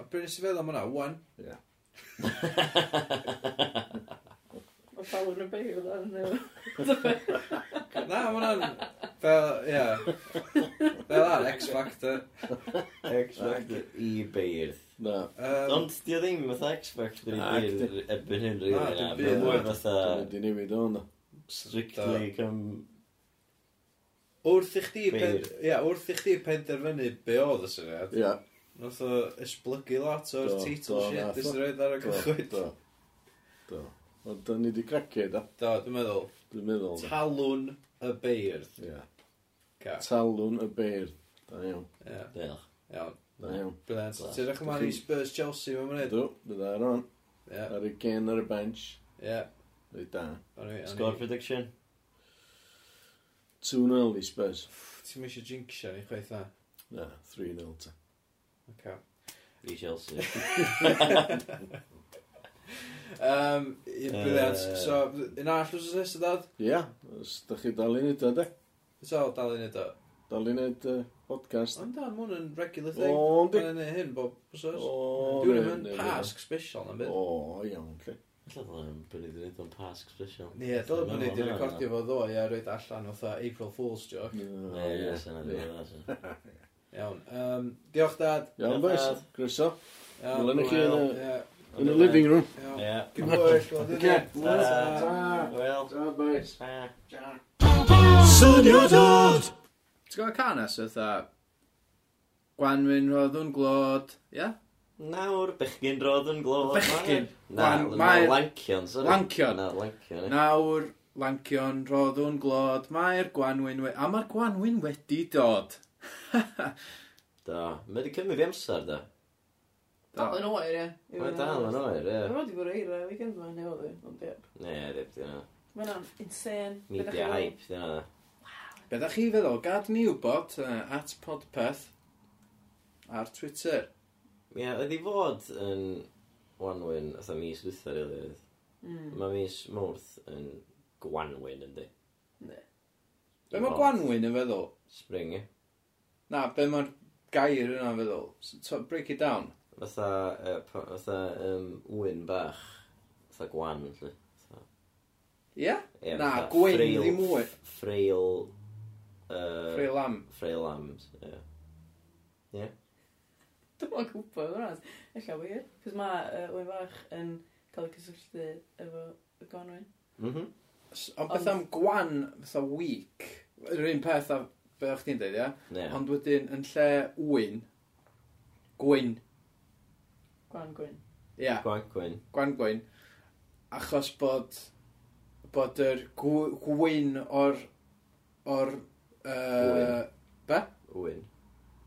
S3: A bryd nes i feddwl am hwnna One
S1: Ie.
S4: Mae talwn y beirdd yn yw.
S3: Na ma hwnna'n Fel Ie Fel ar X Factor
S2: X-Factor i beirdd.
S1: Na.
S3: Yym,
S2: Ond di o ddim fatha X-Factor i
S1: Na,
S2: beirdd erbyn hyn rili
S3: Na,
S2: na.
S3: dim
S2: Mae
S3: byd,
S2: mwy
S3: na.
S1: Dwi'n
S2: fatha
S1: mynd i newid o hwnna.
S2: strictly cum...
S3: Wrth i chdi,
S2: Beirdd.
S3: pen, ia, wrth i chdi penderfynu be oedd y syniad,
S1: Ie.
S3: nath o esblygu lot o'r
S1: Do,
S3: teitl
S1: do,
S3: shit
S1: nath o.
S3: dys i roed ar y
S1: Do,
S3: gychwyd.
S1: do. Do. Ond da ni wedi cracio da.
S3: Do, dwi'n meddwl,
S1: Dwi'n meddwl da.
S3: talwn y beirdd.
S1: Ie.
S3: Ca,
S1: Talwn y beirdd. Da iawn.
S3: ia,
S2: Diolch.
S3: iawn.
S1: Da iawn.
S3: Brilliant.
S2: Glas.
S3: Ti'n rach yma'n i Spurs Chelsea mewn mynd?
S1: Ydw, bydd ar on.
S3: Ia,
S1: Ar y gen ar y bench.
S3: ia.
S1: Rwy da.
S3: O'n i-
S2: Score
S3: o'n i...
S2: prediction?
S1: 2-0 i Spurs.
S3: Pff, Ti'n mysio jinxio ni chweith na?
S1: Na, 3-0 ta.
S3: Ca.
S2: Fi Chelsea.
S3: Um, ie, brilliant.
S2: Yy.
S3: So, un all wrth ys ysdod?
S1: Ia, os ydych chi dal i neud o, de?
S3: So, dal i neud o.
S1: Dal i neud uh, podcast.
S3: Ond dan, mwyn yn regular thing.
S1: O,
S3: Mae'n
S1: di.
S3: yn neud hyn bob wsos.
S1: O,
S3: Dwi'n
S1: ne,
S3: mynd
S1: ne, ne.
S3: pasg special na byd.
S1: O, iawn, lle.
S2: Alla bod yn bynnu dwi'n neud o'n pasg special.
S3: Ie, dod yn mynd i recordio fo ddo, ia, roed allan fatha April Fool's joke.
S2: Ie, ie, sy'n edrych.
S3: Iawn. Um, diolch, dad.
S1: Iawn, boys. Gryso.
S3: Iawn,
S1: Wel, yn y chi e.
S3: wel,
S1: yn y-
S3: ie,
S1: In the living room.
S3: iawn.
S2: Ie.
S3: Good work, well done.
S1: Okay.
S2: Ta-ra. Wel,
S1: Ta, boys.
S2: ta.
S1: Syniadad!
S3: Ti'n gwybod can as ytha? Gwan mynd roedd yn glod, ia?
S2: Nawr, bechgyn roedd yn glod.
S3: Bechgyn.
S2: Na,
S3: Wan-
S2: na,
S3: mae'r-
S2: lancion, sori.
S3: Lancion.
S2: Na, lancion. ie.
S3: Nawr, lancion roedd yn glod, mae'r gwanwyn we... A mae'r gwanwyn wedi dod.
S2: Do. Mae wedi cymryd fi amser, da.
S4: Dal yn oer, ie. I fod
S2: Mae
S4: yn
S2: dal yn
S4: onest.
S2: oer, ie.
S4: Mae'n rhaid i bod eira, weekend mae'n ei oedd i, ond ie.
S2: Ne, rip, di hwnna.
S4: Mae'n insane. Be
S2: Media
S4: dach chi'n
S2: hype, di hwnna.
S3: Be da chi feddwl? Gad ni wybod uh, at podpeth ar Twitter.
S2: Ie, ydi fod yn Wanwyn, atho mis dwytha, rili. oedd.
S4: meddwl? Mm.
S2: Mae mis Mawrth yn Gwanwyn, yndi.
S4: Ne.
S3: Be mae gwanwyn yn feddwl?
S2: Spring, ie.
S3: Na, be mae'r gair yna yn feddwl? S- So, break it down.
S2: Fatha, yy, pa- fatha, yym, wyn bach. Fatha gwan, lli.
S3: Ie?
S2: Ie,
S3: Na,
S2: fatha
S3: gwyn
S2: ffreil-
S3: ddim wyn.
S2: Ffreil... yy,
S3: Free lam.
S2: Ffreil lambs, ie.
S4: Dwi'n gwybod, mae'n rhaid. Ella wir. Cos mae uh, Wyn Fach yn cael ei cysylltu efo y Gwanwyn.
S2: Mhm.
S3: S- Ond beth
S4: Ond-
S3: am gwan, fatha weak, yr un peth a be o'ch ti'n deud, ia?
S2: Ne.
S3: Ond wedyn, yn lle wyn, gwyn,
S4: Gwan Gwyn.
S3: ia,
S2: Gwan gwyn.
S3: gwan gwyn, achos bod, bod yr gw- gwyn o'r, o'r, uh,
S2: Gwyn.
S3: be?
S2: Wyn.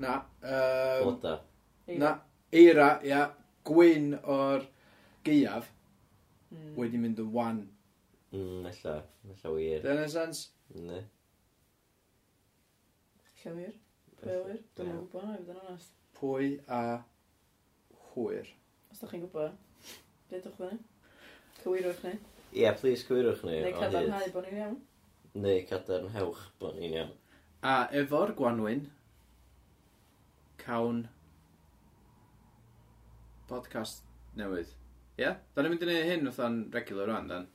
S3: Na, uh,
S2: Bloda.
S3: na, eira, ia, gwyn o'r gaeaf
S4: Mm.
S3: wedi mynd yn wan.
S2: Mm, ella. Ella wir.
S3: Dyna'n sens?
S2: Ne.
S4: Ella wir. Pwy a wir? Dwi'n gwybod hwnna, i fod yn onest.
S3: Pwy a hwyr.
S4: Os da chi'n gwybod, dedwch fyny. Cywirwch ni.
S2: Ie, please cywirwch ni.
S4: Neu
S2: o
S4: cadarnhau
S2: hyd.
S4: bod ni'n iawn.
S2: Neu cadarnhewch bod ni'n iawn.
S3: A efo'r gwanwyn, cawn podcast newydd. Ie? Yeah? Da ni'n mynd i neud hyn fatha'n regular rwan, dan?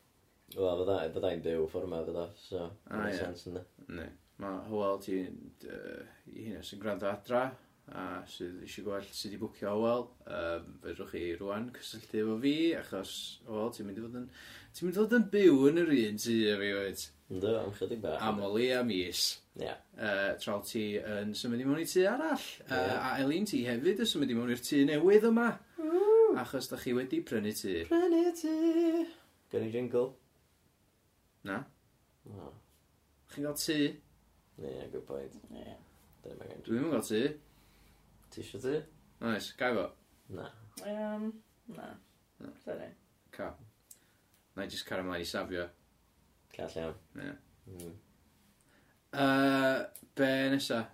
S2: Wel, bydda- byddai'n byw ffordd fydda, so...
S3: Ah,
S2: Ah,
S3: ie.
S2: sens yna.
S3: Ne. Mae Howell ti'n... Uh, hyn sy'n gwrando adra, a sydd eisiau gweld sydd wedi bwcio Howell, uh, fedrwch chi rwan cysylltu efo fi, achos Howell ti'n mynd i fod yn... Ti'n mynd i fod yn byw yn yr un tu a fi oed.
S2: Ynddo, am chydig bach.
S3: Am o leia mis.
S2: Ie.
S3: uh, tra ti yn symud i mewn i tu arall. Uh,
S2: Ie.
S3: A Elin, ti hefyd yn symud i mewn i'r tu newydd yma. Achos da chi wedi prynu tu.
S2: Prynu ti. Gen i jingle.
S3: Na?
S2: O,
S3: Chi'n gael tu?
S2: ne, good point.
S4: Ie.
S2: Dyma gen i.
S3: Dwi ddim yn gael tu.
S2: Ti isio ti?
S3: Oes, gai fo.
S2: Na.
S4: Yym, na.
S3: Na.
S4: Sorry.
S3: Ca. Na i jyst car ymlaen i safio.
S2: Call iawn.
S3: Ie.
S2: Mm.
S3: Uh, be nesa?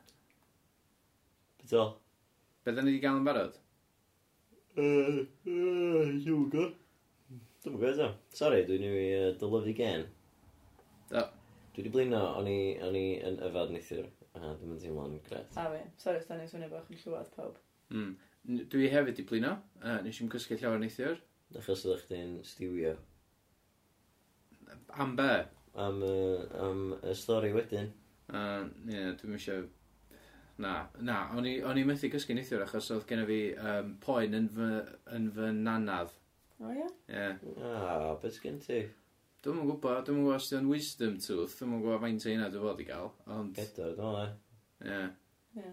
S2: Byto.
S3: Be da ni wedi gael yn barod?
S2: Yy, yy, yoga. Dwi'n gwybod eto. Sorry, dwi'n i uh, dylyfu gen.
S3: Do.
S2: Dwi wedi blino, o'n i, o'n i yn yfad neithiwr. A dwi'n mynd teimlo'n gret.
S4: A fi. Sorry, os da ni'n swnio bach yn llwad pawb.
S3: Mm. N- Dwi hefyd i blino. Uh, nes i'n cysgu llawer neithiwr.
S2: Achos ydych chi'n stiwio.
S3: Am be?
S2: Am, uh, am y stori wedyn.
S3: Uh, ie, dwi'n eisiau... Na, na, o'n i, o'n i methu gysgu neithiwr achos oedd gen i fi um, poen yn fy, yn fy nanadd.
S4: O ie?
S3: Ie. Yeah.
S2: Ah, beth gen ti?
S3: Dwi'n yn gwybod, dwi'n yn gwybod os di'n wisdom tooth, dwi'n yn gwybod faint eina dwi'n fod i gael, ond... Ie.
S2: Pedwar, dwi'n meddwl.
S3: Yeah.
S4: Ie.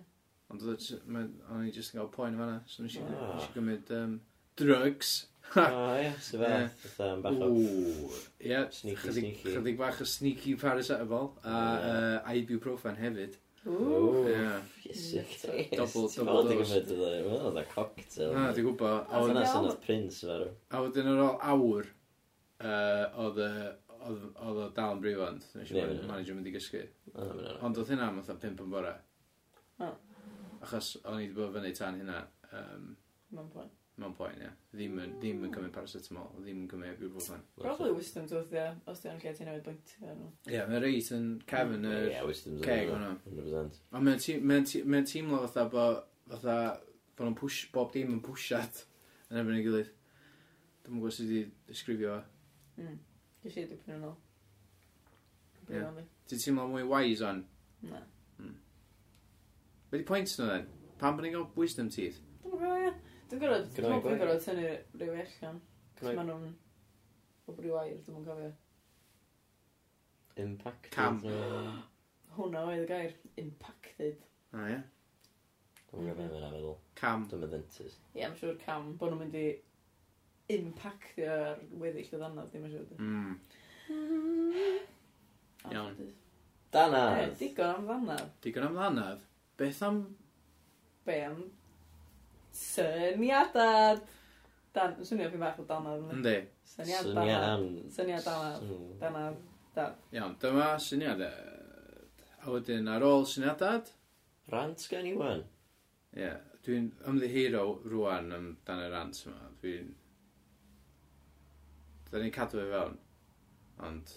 S3: Ond oedd o jyst- ma- o'n i jyst yn cael poen yn fanna, so nes i
S2: Ah.
S3: nes i gymryd um, drugs.
S2: O, ie, sy'n fath. Fytha yn bach o...
S3: Ww. Ie,
S2: Sneaky,
S3: chydig
S2: sneaky.
S3: chydig bach o sneaky paracetamol, a
S2: Ie.
S3: uh, ibuprofen hefyd.
S4: Ww.
S2: Ww,
S3: Ie.
S2: ffisig.
S3: Double-
S2: Ti'n
S3: double
S2: fawr di
S3: dose.
S2: gyfyd ydw i. Mae'n oedd a cocktail.
S3: Na, Ah, dwi'n gwybod, a
S4: A ti'n
S3: wedyn-
S2: Hwna
S4: iawn?
S2: sy'n oedd Prince farw.
S3: a wedyn ar ôl awr, uh, oedd y- oedd- oedd o dal yn brifond, nes i
S2: Ie,
S3: gweld
S2: ie.
S3: manager mynd i gysgu.
S2: O, mae'n iawn.
S3: Ond oedd hynna am fatha pimp yn bore.
S4: O.
S3: Achos o'n i wedi bod fyny tan hynna. Um,
S4: Mae'n pwynt.
S3: Mae'n poen, ie. Ddim yn, ddim yn cymryd paracetamol, ddim yn cymryd ibuprofen.
S4: Probably wisdom tooth, ie. Os ti'n lle ti'n newid bwynt. ie, no.
S3: Ie, yeah, mae'n reit yn cefn yr...
S2: Ie, wisdom's
S3: ceg
S2: yn
S3: hwnna.
S2: 100%.
S3: Ond mae'n ti- mae'n ti- mae'n teimlo fatha bo, fatha, bo nhw'n push, bob dim yn pwsiad yn erbyn ei gilydd. Dwi'n gwybod sut i ddisgrifio fo.
S4: Mm. Dwi'n siarad dipyn yn ôl.
S3: Ie.
S4: Bwyd
S3: Ti'n teimlo mwy wise on.
S4: Na.
S3: Be di pwynt nhw then? Pam bod ni'n gael wisdom teeth?
S4: Dwi'n gwybod, ie. Dwi'n gorfod,
S2: Gynna
S4: dwi'n
S2: i
S4: gwybod,
S2: gwaith.
S4: dwi'n gorfod tynnu rhyw allan. Cos
S2: Gynna i-
S4: maen nhw'n o brwy wair, dwi'n mwyn cofio.
S2: Impact.
S3: Cam.
S4: Hwna oedd y gair, impacted.
S3: O ie.
S2: Dwi'n gwybod beth yna feddwl.
S3: Cam.
S2: Dwi'n mynd dentist.
S4: Ie, mae'n siŵr cam, bod nhw'n mynd i impactio ar weddill o ddanad, ddim yn siŵr. dwi.
S3: Mm. Iawn.
S4: Anffodus. Ie,
S2: Danad!
S4: digon am ddanad.
S3: Digon am ddanadd. Beth am...
S4: Be am syniadad. Dan, yn swnio fi'n bach o danad. yndi?
S3: Yndi.
S4: Syniad danad. Syniad danad.
S2: Syniad am.
S4: Danad. Dan.
S3: Iawn, dyma syniad. A wedyn ar ôl syniadad,
S2: Rant gan i wan.
S3: Ie, yeah, dwi'n ymddihiro rwan amdan y rant yma. Dwi'n... Dyna ni'n cadw fe fewn, ond...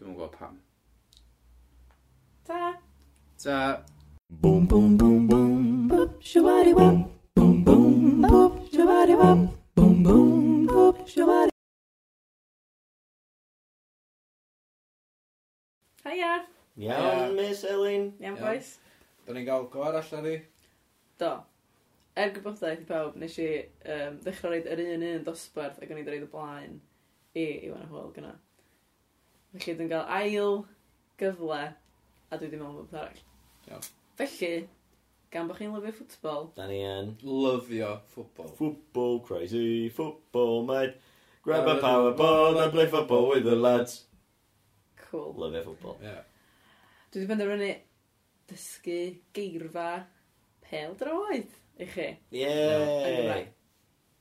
S3: Dwi'n gwybod pam.
S4: Ta.
S3: Ta,
S5: Boom, boom, boom, boom.
S6: boop, shabadi wop,
S5: Boom, boom,
S6: boop, shabadi wop,
S5: boom, boom.
S6: boop, shabadi.
S4: Haia.
S2: Iawn, Miss Elin.
S3: Iawn.
S4: Iawn, boys.
S1: Do'n ni'n gael go arall ar ei?
S4: Do. Er gwybodaeth i pawb, nes i um, ddechrau reid yr un un dosbarth ac o'n i wedi reid y blaen i Iwan y Hwyl gyna. Felly dwi'n cael ail gyfle a dwi ddim yn gwybod arall.
S1: Iawn.
S4: Felly, gan bod chi'n lyfio ffwtbol,
S2: Dan ni yn.
S1: Lyfio ffwbol.
S2: Football crazy, football mate. Grab a
S1: Uh,
S2: power board and play football with the lads.
S4: cool.
S2: Love it, football.
S1: Ie.
S4: Dwi wedi penderfynu dysgu geirfa pel droed i chi. Yn
S2: Yay!
S4: Gymraeg.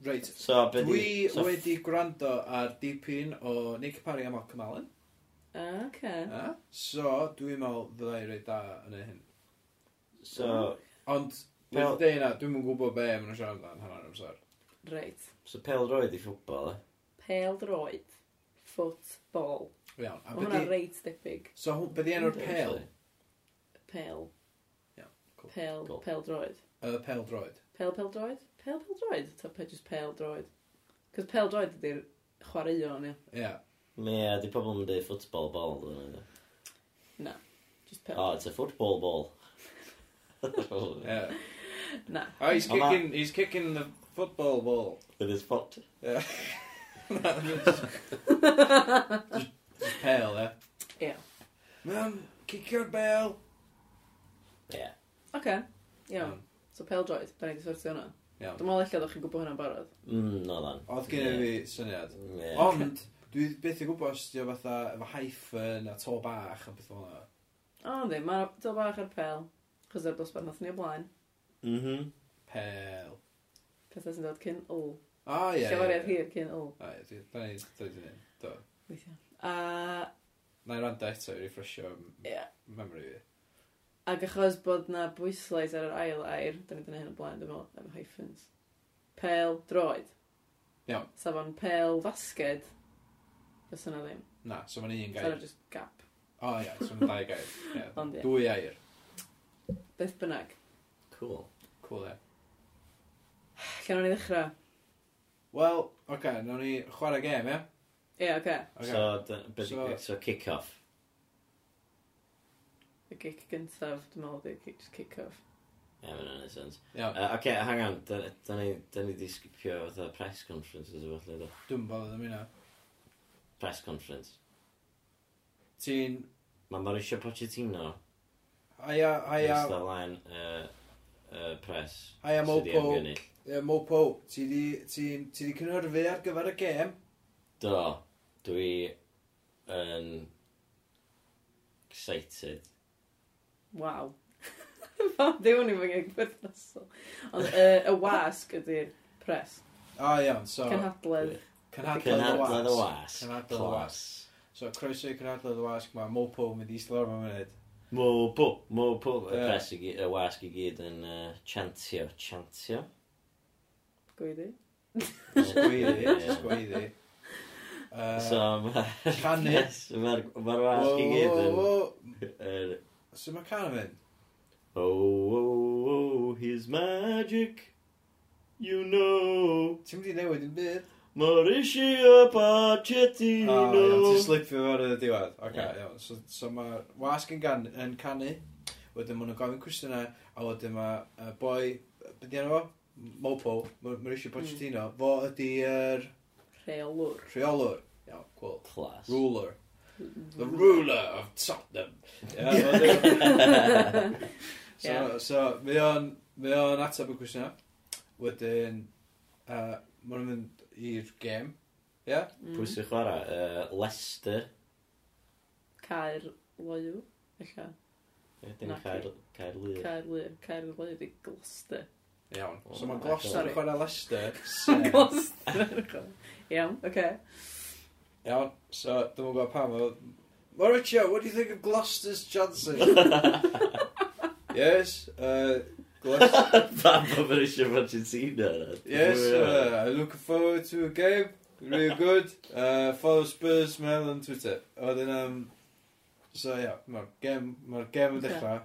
S1: Reit,
S2: So, be
S1: dwi
S2: di... so-
S1: wedi gwrando ar dipyn o Nick Parry a Malcolm Allen.
S4: Oce.
S1: A? So, dwi'n meddwl dda i rei da yn y hyn.
S2: So,
S1: Ond,
S2: Wel-
S1: beth dde na, dwi'n yn gwybod be maen nhw'n siarad amdan hanner amser.
S4: Reit.
S2: so pel droed i ffwbol, e?
S4: Pel droed. Ffwtbol.
S1: Iawn, a
S4: Mae
S1: be
S4: hwnna
S1: di...
S4: reit debyg.
S1: So, hw- be di enw'r
S4: Yndi,
S1: pel?
S4: Pel.
S1: Iawn, cool.
S4: Pel,
S2: Cool.
S4: pel droed.
S1: Y pel droed.
S4: Pel, pel droed? Pel, pel droed? Ta pe jyst pel droed? Cos pel droed ydy'r chwaraeon, ie.
S1: Ie.
S2: Mae e, di pobl yn dweud football ball, dwi'n dweud.
S4: Just pel.
S2: Oh, it's a football ball. With
S1: Ie.
S4: Na.
S1: Oh, he's
S2: Ond ma-
S1: kicking, he's kicking the football ball.
S2: his foot.
S1: Pel, ie.
S4: Ie.
S1: Mam, cicio'r bel.
S2: Yeah.
S4: Oce. Iawn. So pel droed, da ni wedi sortio hwnna.
S1: Iawn.
S4: Dwi'n meddwl eich ddech chi'n gwybod hwnna'n barod.
S2: Mm, no then.
S1: Oedd gen i fi syniad.
S2: Yeah.
S1: Ond, dwi byth yn gwybod os ydi o fatha efo hyphen a to bach a beth fel yna.
S4: O, ynddi, mae dal bach ar pel. Chos ar dosbarth nath ni o blaen.
S2: Mhm.
S1: Pel.
S4: Pethau sy'n dod cyn o.
S1: O, ie. ie,
S4: Llefariad
S1: ie.
S4: hir cyn o.
S1: O, ie, dwi- Da ni, da ni, da ni.
S4: Weithio. A
S1: Na i randa eto i refreshio m-
S4: Ie.
S1: memory fi.
S4: Ac achos bod na bwyslais ar yr ail air, da ni dyna hyn o blaen, dwi'n meddwl, efo hyphens. Pel droed.
S1: Iawn.
S4: Safon pel fasged. Fes yna ddim.
S1: Na, so mae'n un
S4: Gair.
S1: gair.
S4: just gap.
S1: O, ie, so mae'n dau gair. Ie.
S4: Ond ie.
S1: Dwy air.
S4: Beth bynnag.
S2: Cool.
S1: Cool, ie.
S4: Llan o'n i ddechrau.
S1: Wel, oce, okay, nawn ni chwarae gêm, ie?
S4: Ie, oce. Okay.
S1: Oce.
S2: So, dy- be
S1: So-
S2: di... So, kick-off.
S4: Y gic gyntaf, dwi'n meddwl, dwi'n gic just kick-off.
S2: Yeah, mae'n anodd sense.
S1: Iawn,
S2: Uh, okay, hang on. Da da ni, da ni di skipio fatha press conferences o falle do.
S1: dwi'n bod yn mynd.
S2: Press conference.
S1: Ti'n...
S2: Mae Mauricio Pochettino.
S1: Aia, aia,
S2: Nes da line uh, uh, press.
S1: aia
S2: sy 'di
S1: Mopo.
S2: ymgynnull.
S1: Ie, Mopo, ti di, ti, ti di cynhyrfu ar gyfer y gêm?
S2: Do. Dwi yn... Excited.
S4: Waw. Fan diwn i fy ngeg berthnasol. Ond y- y wasg ydy'r pres.
S1: O iawn, so...
S4: Cynhadledd.
S2: Cynhadledd y
S1: wasg.
S2: wasg.
S1: Cynhadledd y wasg. So, croeso i cynhadledd y wasg, mae Mopo yn mynd i slor mewn munud.
S2: Mo po, mo po. Y
S1: Ie.
S2: pres i gyd, y wasg i gyd yn uh, chantio, chantio.
S4: Gwydi.
S2: Ie.
S3: Sgweiddi.
S2: So mae'r...
S3: Canu.
S2: Yes, mae'r ma wasg i gyd yn... yn
S3: So mae can yn mynd.
S2: oh, oh, oh, his magic, you know,
S3: Ti'n mynd i newid yn byd.
S2: Mauricio
S3: O,
S1: Ah,
S2: Pochettino.
S3: iawn, ti'n slipio fewn yn y diwedd. Ok,
S2: Ie.
S3: iawn. So, so mae wasg yn, gan, yn canu, wedyn maen nhw'n gofyn cwestiynau, a wedyn mae uh, boi, beth yna fo? Mopo, Ma- Mauricio Pochettino, fo ydy'r
S4: Rheolwr.
S3: rheolwr. Iawn, cool.
S2: Class.
S3: Ruler. The ruler of Tottenham. Ie, fo 'di o. So,
S4: Ie.
S3: so mae o'n mae o'n ateb y cwestiynau. Wedyn, uh, maen nhw'n mynd i'r gêm. Ie?
S4: Mm.
S2: Pwy sy'n chwarae? Uh, Leicester.
S4: Caer loiw. Ella.
S2: Ie, Dim
S4: Naci.
S2: Caer Caer Lyr.
S4: Caer loiw. Caer loiw di Gloucester.
S3: Iawn.
S2: O,
S3: So mae
S2: my
S3: Gloucester
S4: God.
S3: yn chwarae Leicester.
S4: Gloucester. Iawn, oce.
S3: Iawn. So, dwi'n gwybod pam. oedd- Mauricio, what do you think of Gloucester's chances? yes, uh, Gloucester.
S2: Fan bod Mauricio Pochettino.
S3: Yes, uh, I'm looking forward to a game. Really good. Uh, follow Spurs Mail on Twitter. A Wedyn, um, so ia, yeah, mae'r gem, ma gem yn
S4: Ocê.
S3: dechrau.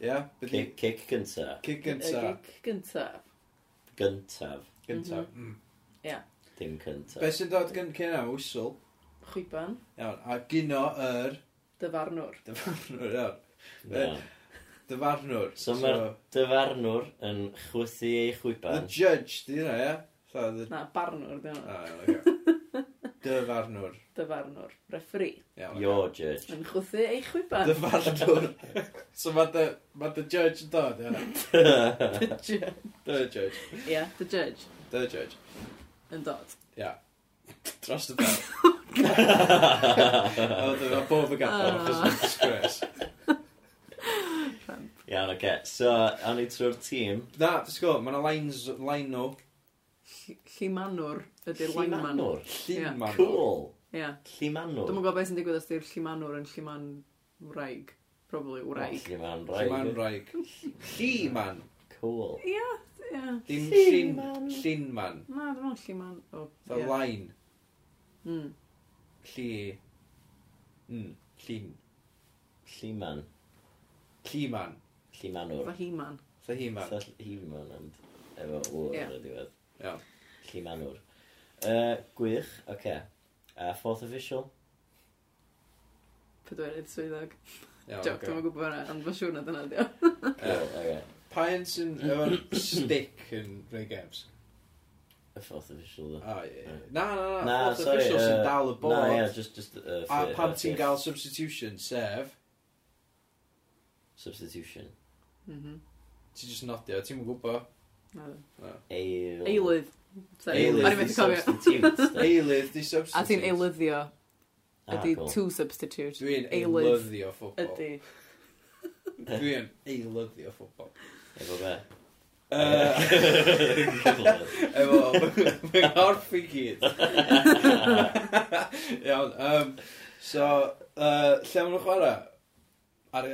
S3: Ia, beth i
S2: Kick, kick gynta.
S3: cig
S4: Y
S3: gynta.
S4: gig Gynta.
S2: Gyntaf.
S3: Gynta. Mm.
S2: Dim cyntaf.
S3: Be sy'n dod gyn cyn am whistle?
S4: Chwiban.
S3: Iawn, a gyno yr
S4: Dyfarnwr.
S3: dyfarnwr, iawn.
S2: Iawn.
S3: Dyfarnwr.
S2: So ma'r- Dyfarnwr yn chwythu ei
S3: The
S2: chwiban.
S3: judge, di hynna, ia? So, the...
S4: Na, barnwr, dyn nhw.
S3: Ah, iawn, ocê. Dyfarnwr.
S4: Dyfarnwr. Referee.
S3: Iawn.
S2: Your judge.
S4: Yn chwthu ei chwiban.
S3: Dyfarnwr. So mae the, ma the judge yn dod, ia?
S4: The judge.
S3: The judge.
S4: Ie, the judge.
S3: The judge.
S4: Yn dod.
S3: Dros dy bel. A wedyn mae bob y gadael, achos mae'n disgrace.
S2: Iawn, oce. So, awn ni trwy'r tîm.
S3: Na, dwi'n gwybod, mae yna lines, line nhw.
S4: Lli- Llimanwr ydy'r lineman.
S2: Llimanwr.
S3: Lliman.
S2: Cool.
S4: Ie.
S2: Llimanwr.
S4: Dwi'n gwybod beth sy'n digwydd os di'r llimanwr yn lliman wraig. Probably wraig.
S2: Lliman
S3: Lliman
S2: wraig.
S3: raig. Lliman.
S2: Cool.
S4: Ie, ie.
S3: Dim llin. Llinman.
S4: Na, dwi'n meddwl lliman. O,
S3: The
S4: ie.
S3: line.
S4: Mm.
S3: Lli. Mm. Llin.
S2: Lliman.
S3: Lliman.
S2: Llimanwr.
S4: Fa himan.
S3: The he-man.
S2: Fatha Lliman ond efo wr
S4: Ie.
S2: ar y diwedd.
S3: Iawn.
S2: Llimanwr. Yy, Gwych, oce. A fourth official?
S4: Pedwerydd swyddog.
S3: Iawn,
S4: Joc,
S3: ocê.
S4: dwi'n gwybod hwnna, ond mae'n siŵr na dyna di o.
S2: Cool, oce.
S3: Pa'n sy'n efo'r stick yn rhai games?
S2: Y fourth official, ddo.
S3: O, ie. Na, na, na.
S2: Na,
S3: Na,
S2: sorry,
S3: sorry.
S2: yy,
S3: sy'n dal y bod.
S2: Na, ie, just, just... yy,
S3: A
S2: ffi-
S3: pan
S2: yy,
S3: ti'n
S2: ffi-
S3: gael substitution, sef,
S2: Substitution.
S4: Mhm.
S3: ti'n just nodio, ti'n mwyn gwybod.
S4: Na do.
S2: Eilydd.
S4: Eilydd. Sorry,
S3: Eilydd
S4: o'n i'n
S2: is
S4: methu cofio.
S2: substitute, ddo.
S3: Eilydd, di
S4: A ti'n
S3: substitute.
S4: eilyddio
S2: Ah,
S4: ydy
S2: cool.
S4: to substitute.
S3: Dwi'n
S4: eilydd
S3: eilyddio ffobol.
S4: Ydy.
S3: Dwi'n eilyddio ffobol.
S2: Efo be?
S3: Yy, Efo, fy nghorff i gyd. Iawn, um, so, uh, lle maen nhw'n chwarae? Ar y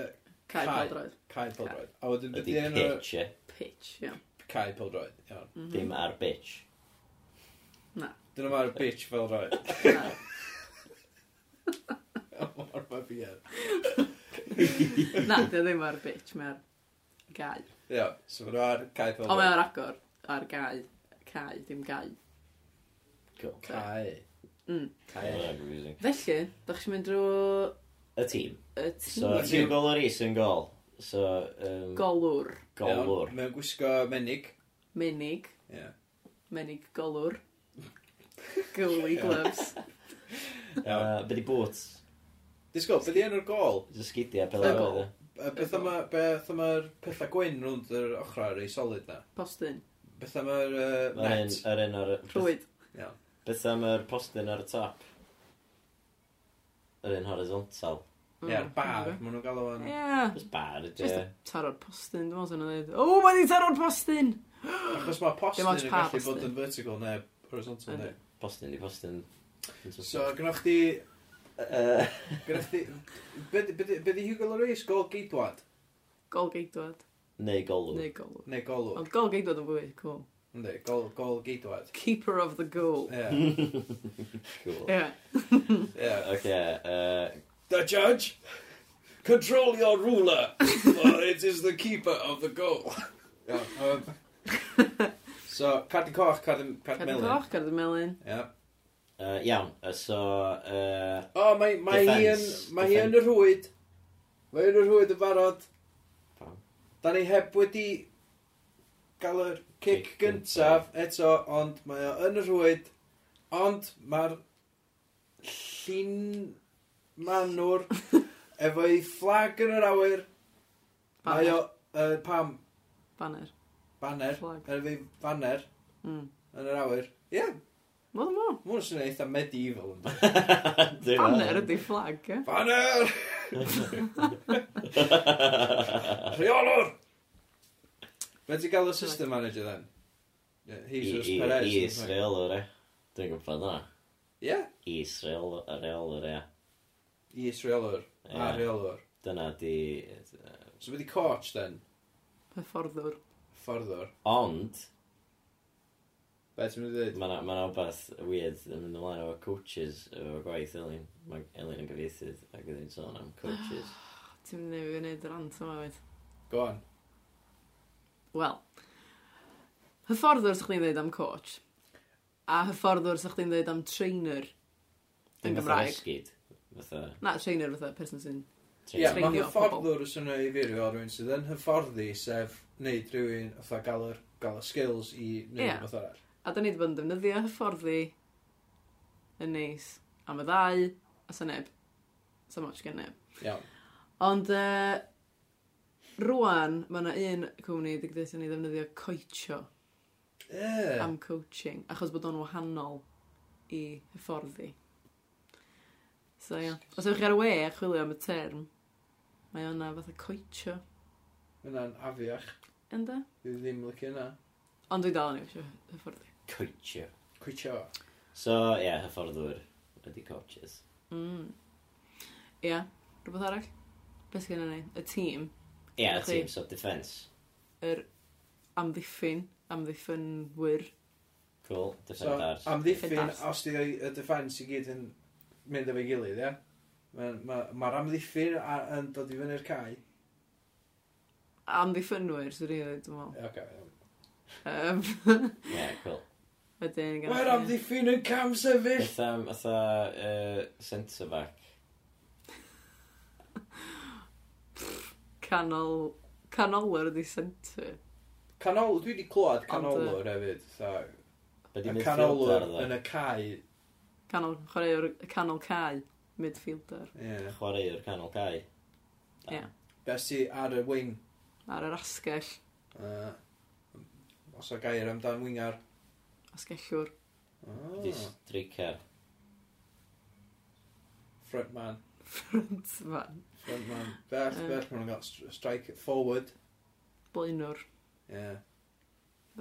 S4: Cae
S3: Cae.
S4: padroedd.
S3: Cae Peldroed. A wedyn,
S2: Ydy
S3: ydy enw
S2: pitch, e?
S4: Pitch, ie.
S3: Cae Peldroed. Iawn.
S4: Mhm.
S2: Dim ar bitch.
S3: Dyna mae'r bitch fel roed.
S4: Na.
S3: Mae'r mae byd.
S4: Na, dio ddim ar bitch, mae'r gau.
S3: Ia, so maen nhw ar Cae
S4: O,
S3: Peldroed.
S4: mae'r agor ar gau. Cau, dim gau.
S2: Cool.
S3: Cae.
S4: Mm.
S3: Cae.
S2: Whatever reason.
S4: Felly, dach chi'n mynd drwy
S2: Y tîm.
S4: y
S2: So,
S3: Tîm.
S4: tîm
S2: two goal ar is yn gol. So, um,
S4: golwr.
S2: golwr.
S3: Iawn, Mae'n gwisgo menig.
S4: Menig.
S3: Ia.
S4: Menig golwr. Goalie gloves.
S2: Uh,
S3: Iawn.
S2: Be di boots?
S3: Disgo, beth i enw'r gol?
S2: Just sgidia, pel
S4: Y
S2: ar
S4: gol.
S2: oedd.
S3: Y Beth yma, beth yma'r pethau gwyn rwnd yr ochrau rei solid na?
S4: Postyn.
S3: Beth yma'r uh,
S2: Yr un,
S3: net?
S2: yr un ar...
S4: Rwyd.
S3: Iawn.
S2: Beth am yr postyn ar y top? Yr un horizontal.
S3: Ia'r bar, maen nhw'n gael o'n...
S4: Mm, Ie.
S2: Just bar, ydy.
S4: Just taro'r postyn, dwi'n meddwl sy'n dweud. O, mae di taro'r postyn!
S3: Achos mae postyn
S4: Dim
S3: yn
S4: ond pa
S3: gallu bod
S4: postyn.
S3: yn vertical neu horizontal
S4: Yndi.
S3: neu.
S2: Postyn di postyn.
S3: So, gynnwch chi...
S2: Yy,
S3: Gynnwch chi... Be di Hugo Lloris? Gol geidwad?
S4: Gol geidwad.
S2: Neu golwr.
S4: Neu golwr.
S3: Neu golwg?
S4: Ond gol geidwad yn fwy, cool.
S3: Ynddi, gol, gol geidwad.
S4: Keeper of the goal.
S2: Hmm.
S3: Ie,
S2: Cool.
S4: Yeah.
S3: ie.
S2: Okay, uh,
S3: The judge, control your ruler, for it is the keeper of the goal. Iawn, yym, so, cad i coch, cad i cad i
S4: Cadw
S3: melyn.
S4: coch, cadw melyn.
S3: Ie.
S2: uh, iawn, uh, so, uh,
S3: O, mae, mae hi yn,
S2: Defence.
S3: mae hi yn y rhwyd. Mae hi yn y rhwyd yn barod.
S2: Pam?
S3: Da ni heb wedi gael yr cic
S2: Kick
S3: gyntaf eto, ond mae o yn y rhwyd. Ond mae'r llun manwr efo ei fflag yn yr awyr. Mae o, uh, pam,
S4: Banner.
S3: banner,
S4: Fflag.
S3: efo ei banner
S4: Mm.
S3: yn yr awyr. Ie, yeah,
S4: Wel, mo.
S3: mwyn sy'n eitha medieval yn
S2: Dwi'n
S4: Banner ydi flag, e?
S3: Banner! Rheolwr! Fe ti gael y system manager then? Yeah, Jesus
S2: I-
S3: Perez.
S2: I Israel o'r e. Dwi'n gwybod hwnna.
S3: Ie,
S2: Israel o'r e o'r e.
S3: i Israelwr. A
S2: Ie.
S3: rheolwr.
S2: Dyna di...
S3: So wedi coach then,
S4: Hyfforddwr.
S3: fforddwr.
S2: Ond,
S3: Be ti'n mynd i ddweud?
S2: mae yna ma beth weird yn mynd ymlaen o coaches o gwaith Elin. Mae Elin yn gyfieithydd ac ydyn sôn am coaches.
S4: Ti'n mynd i fi wneud yr ant yma, fyd.
S3: Go on.
S4: Wel. Hyfforddwr sy'ch chi'n dweud am coach. A hyfforddwr sy'ch chi'n dweud am trainer. Yn
S2: Fatha
S4: Gymraeg.
S2: esgid. Fatha...
S4: Na, trainer fatha, person sy'n...
S3: Ie,
S4: Treinio
S3: mae
S4: pobl.
S3: hyfforddwr yn swnio i fi rhyw rhywun sydd yn hyfforddi sef wneud rhywun fatha gael yr gael y skills i wneud
S4: Ie.
S3: yeah. fath arall.
S4: A da ni wedi bod yn defnyddio hyfforddi yn neis am y ddau a sa neb. Sa much gen neb.
S3: Iawn.
S4: Ond uh, rwan, mae yna un cwmni wedi gydaethon ni ddefnyddio coetio
S3: Ie.
S4: am coaching, achos bod o'n wahanol i hyfforddi. So ia. Os ydych chi ar y we a chwilio am y term, mae o'na fatha coetio,
S3: Yna'n afiach.
S4: ynda?
S3: Dwi ddim lycio yna.
S4: Ond dwi dal yn eisiau hyfforddi.
S2: Coachio.
S3: Cwytio.
S2: So, ie, yeah, hyfforddwyr ydi coaches.
S4: Mm. Ia, rhywbeth arall? Beth sy'n ni? Y tîm,
S2: Ie, yeah,
S4: Ydych chi-
S2: teams of defence.
S4: yr amddiffyn, amddiffynwyr.
S2: Cool,
S3: So,
S2: defenders.
S3: amddiffyn,
S4: Defenders.
S3: os di o'i- y defence i gyd yn mynd efo'i gilydd, ie? Mae'r ma, ma ma'r amddiffyn a- yn dod i fyny'r cae.
S4: Amddiffynwyr, sy'n rhywbeth, dwi'n meddwl.
S3: Ie, Ocê. iawn.
S4: Um,
S2: Ie, yeah, cool.
S4: Wedyn, gan-
S3: Mae'r amddiffyn yn cam sefyll!
S2: Beth am, fatha, uh, centre-back.
S4: Canol... Canolwyr ydi centre.
S3: Canol, dwi wedi clywed
S4: Ond,
S3: canolwr hefyd. So,
S2: Be di
S3: y
S2: midfielder,
S3: canolwr
S2: ddo?
S3: yn y cae.
S4: Canol... Chwaraewr y canol cae. Midfielder.
S3: Ie.
S2: chwaraewr canol Ah, cae.
S4: Ie.
S3: Best i ar y wing.
S4: Ar yr asgell.
S3: Uh, os o gair amdan wingar.
S4: Asgellwr.
S3: Oh,
S2: Di streicer.
S3: frontman.
S4: Front man.
S3: Frontman. Beth,
S4: Yy.
S3: beth mae'n gael stri- strike forward.
S4: Blaenwr.
S3: Ie. Yeah.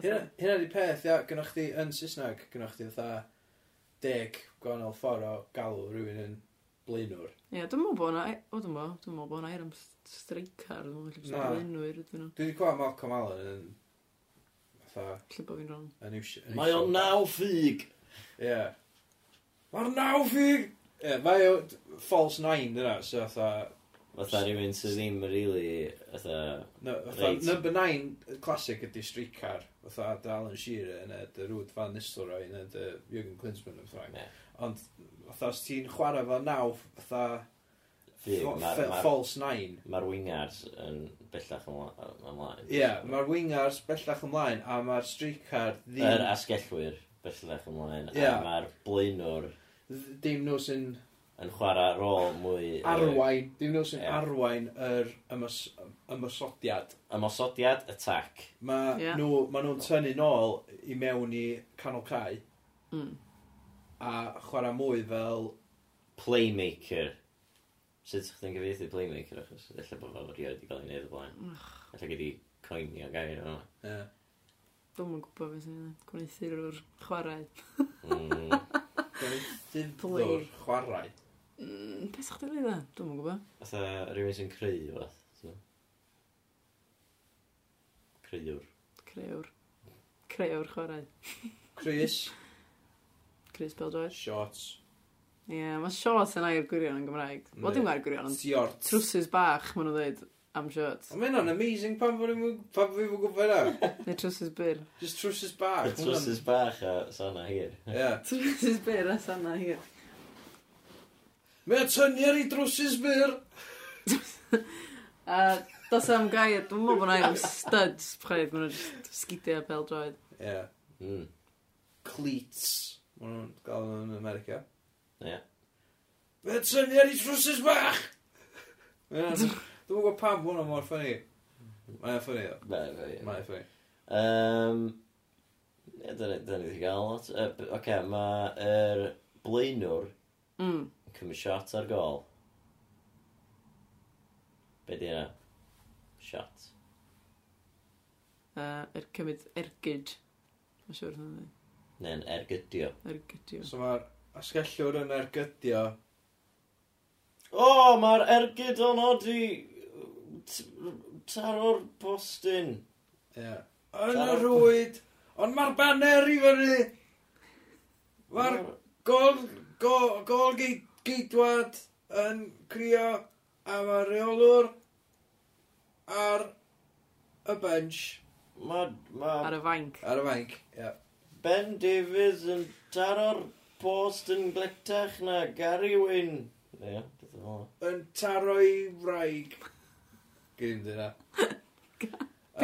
S3: Hynna hynna 'di peth, ia, gynnwch chdi yn Saesneg, gynnwch chdi fatha deg gwahanol ffordd o galw rhywun yn blaenwr.
S4: Ie, dwi'n meddwl bod yna... O, dwi'n meddwl. Dwi'n meddwl bod yna i'r am streicar. Dwi'n meddwl bod
S3: Na.
S4: blaenwyr ydyn nhw.
S3: Dwi wedi clywed Malcolm Allen yn fatha
S4: Lle bod fi'n rong.
S3: yn iwsio.
S2: Mae o'n naw ffug!
S3: Ie. Mae'r naw ffig! Ie, mae o d- false nine dyna, so fatha...
S2: Fatha rhywun sydd ddim really, fatha...
S3: No, fatha
S2: Reit.
S3: number nine, y classic ydi streetcar, fatha dy Alan Shearer, neu dy Rwyd Van Nistelrooy, neu dy Jürgen Klinsmann, fatha.
S2: Ie.
S3: Ond, fatha, os ti'n chwarae fel naw, fatha...
S2: Ffug.
S3: Fo-
S2: Ma'r
S3: fe-
S2: ma,
S3: False nine.
S2: ma'r wingers yn bellach ymla- ymlaen.
S3: Ie, yeah, mae'r wingers bellach ymlaen, a mae'r streetcar
S2: Yr
S3: ddim,
S2: asgellwyr bellach ymlaen.
S3: Ie.
S2: A ma'r blaenwr
S3: th- dim nhw sy'n
S2: yn chwarae rôl mwy... yy,
S3: arwain, dim nhw sy'n
S2: Ie.
S3: arwain yr ymys, ymysodiad.
S2: Ymosodiad, attack.
S3: Mae
S4: Ie.
S3: yeah. nhw, ma nhw'n tynnu nôl i mewn i canol cae,
S4: Mm.
S3: a chwarae mwy fel,
S2: Playmaker. Sut ydych chi'n gyfeithi playmaker achos? Ella bod fel rioed wedi cael ei wneud o blaen. Ella gei di coinio gair yma.
S3: yeah.
S4: Dwi'n yn gwybod beth sy'n ei gwneithir o'r chwarae.
S2: Mm.
S3: Dyfdwr
S4: Play.
S3: chwarae.
S4: Mm, Beth sa'ch chi'n dweud e? Dwi'n yn gwybod.
S2: Fatha rhywun sy'n creu fath. So. Creuwr.
S4: Creuwr. Creu o'r chwarae.
S3: Chris.
S4: Chris Bell George.
S3: Shorts.
S4: Ie, yeah, mae shorts yn air gwirion yn Gymraeg.
S3: Ne.
S4: Wel, dim air gwirion, ond
S3: Shorts.
S4: trwsus bach, maen nhw'n dweud, am shorts.
S3: Ond Mae hynna'n amazing pan fod pan fi fod gwybod hynna.
S4: Neu trwsus byr.
S3: Just trwsus bach.
S2: Y trwsus bach a sana hir.
S3: Hwnna'n- Ie.
S4: Trwsus byr a sanna hir.
S3: Mae o tynnu ar ei drwsus byr.
S4: A dos am gair, dwi'n meddwl bod na am studs, pryd, maen nhw'n just sgidio pel droed.
S3: Ie.
S2: Mm.
S3: Cleats. Mae nhw'n gael yn America.
S2: Ie.
S3: Mae o tynnu ar ei trwsus bach. Mae hynna'n- Dwi'n gwybod pam bod hwnna mor ffynnu. Mae'n ffynnu. ddo.
S2: Na, fe.
S3: Mae'n ffynnu.
S2: Um, Ie, dyna dyna ni wedi gael lot. Yy, b- Oce, okay, mae yr blaenwr
S4: Mm.
S2: yn cymryd shot ar gol. Be di yna? Shot.
S4: Uh, er cymryd ergyd. Mae'n siŵr hwnnw.
S2: Neu'n ergydio.
S4: Ergydio.
S3: So mae'r asgellwr yn ergydio.
S2: O, oh, mae'r ergyd o'n odi taro'r bostyn.
S3: Ie. Yn y
S2: Taro.
S3: rwyd. Ond mae'r baner i fyny. Mae'r gol, gol, gol gei- geidwad yn crio a mae'r reolwr ar y bench,
S2: Mae ma
S4: Ar y fainc.
S3: ar y fainc. Ie.
S2: Ben Davies yn taro'r bostyn gletach na Gary Wyn. Ie, beth o'n o'n.
S3: Yn taro i wraig. Gyn dyna.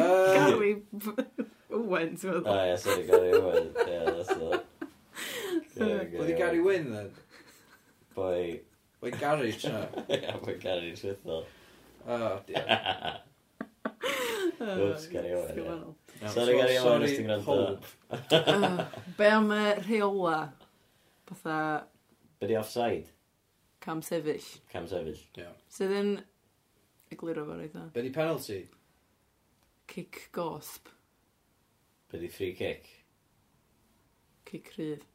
S3: Yy,
S4: Gary Owen, ti'n
S2: O,
S4: meddwl?
S2: ie, sorry, Gary Wyn. Ie, that's it.
S3: Oedd i Gary Wynn then?
S2: Boi.
S3: Oedd Gary tra.
S2: Ie, boi Gary Trithol.
S3: O, diolch.
S2: Oops, Gary Owen, ie.
S4: Sgwannol.
S2: Sorry, Gary Owen, os ti'n gwrando.
S3: Hope.
S4: Ah, Be am y rheola? Fatha
S2: Be di offside?
S4: cam sefyll.
S2: Cam sefyll.
S4: Sydd yn egluro fo reitha.
S3: Be di penalty?
S4: Cic gosb.
S2: Be di free kick?
S4: Cic rhydd.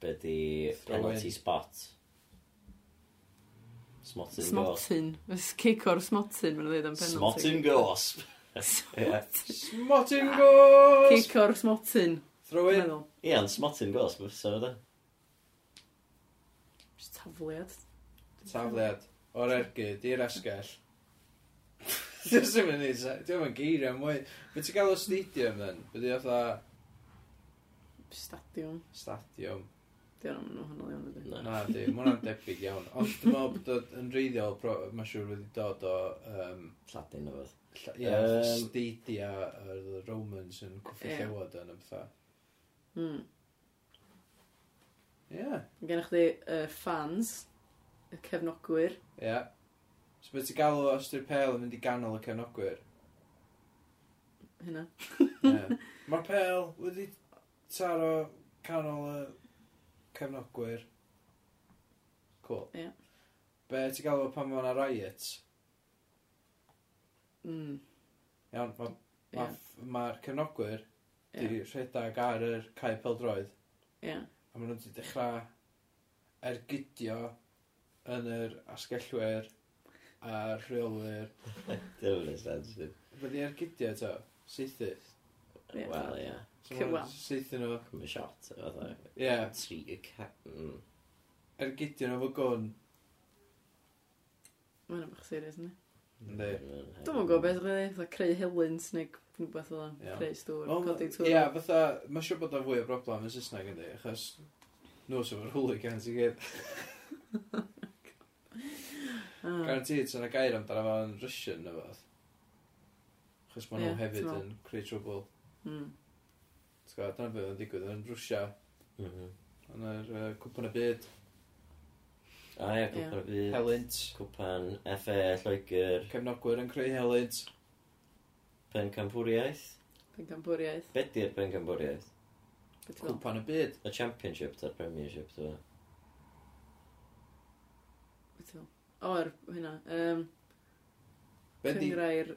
S2: Be di
S3: Throw
S2: penalty
S3: in.
S2: spot? Smotyn gosp.
S4: Smotin. Fes cic o'r smotin, mae'n dweud am penalty.
S2: Smotyn gosp. Ie,
S3: Smotting goals!
S4: Cic o'r smotin,
S3: Throw
S4: dwi'n
S3: in.
S4: meddwl.
S2: Ie, ond smotyn gosp, so fe da.
S4: Jyst Tafliad.
S3: Tafliad. O'r ergyd, i'r asgell. Dwi'n mynd i neud, dwi'n mynd geiriau mwy. Be ti'n gael o stadium then? Be di fatha
S4: Stadiwm.
S3: stadium?
S4: Dwi'n am nhw hwnnw iawn ydy.
S2: Na.
S3: Na, di, mae hwnna'n debyg iawn. Ond dwi'n meddwl bod o- yn reiddiol, pro- mae'n siŵr wedi dod o um,
S2: Lladin o fod.
S3: lla- ia,
S2: Yym.
S3: stadia yr Romans yn cwffi
S4: Ie.
S3: llewod yn y bethau.
S4: Mm.
S3: Ie,
S4: Gen i chdi uh, fans, y cefnogwyr.
S3: ie. So beth ti'n gael o os di'r pel yn mynd i ganol y cefnogwyr?
S4: Hynna.
S3: Ie. Mae'r pel wedi taro canol y cefnogwyr. Cool.
S4: Ie.
S3: Be ti'n galw pan mae yna riots?
S4: Mm.
S3: Iawn, mae'r ma,
S4: Ie.
S3: ma ma'r cefnogwyr
S4: Ie.
S3: wedi rhedeg ar yr cae peldroedd
S4: Ie.
S3: a maen nhw wedi dechrau ergydio yn yr asgellwyr a'r rheolwyr.
S2: Dwi'n mynd i'n sens. dwi'n-
S3: Fyddi ergydio to? Seithi?
S4: Ie.
S2: Wel, ie.
S3: So ma' nhw
S4: Wel.
S3: Seithi nhw.
S2: Cymru shot, o fe.
S3: Ie,
S2: Tri y ca... Mm.
S3: ergydio nhw fo gwn.
S4: Mae'n bach serius, ynddi?
S3: Yndi.
S4: Dwi'n mwyn gwybod beth rydyn, fatha creu helyn, sneg, rhywbeth fel
S3: Ie.
S4: yna, creu stŵr,
S3: Wel,
S4: codi tŵr.
S3: Ie, fatha, mae'n siŵr bod o'n fwy o broblem yn Saesneg yndi, achos nhw sy'n fawr hooligans i gyd.
S4: Ah.
S3: Garantid sy'n y gair amdano fo'n Russian neu fath. Achos maen nhw
S4: Ie, ti'n
S3: hefyd
S4: meddwl.
S3: yn creu trwbl.
S4: Mm.
S3: T'w gwbod, Dyna beth yn digwydd yn Rwsia,
S2: Mhm.
S3: yn yr uh, cwpan y byd,
S2: O ie, cwpan y byd.
S3: helynt.
S2: Cwpan FA Lloegr
S3: Cefnogwyr yn creu helynt.
S2: Pencampwriaeth.
S4: Pencampwriaeth.
S2: Be di'r Pencampwriaeth?
S4: Be ti'n meddwl?
S3: Cwpan y byd.
S2: Y Championship ta'r Premiership, dwi'n
S4: Be ti'n meddwl? O, yr hynna. Um,
S3: Be di...
S4: Cyngrair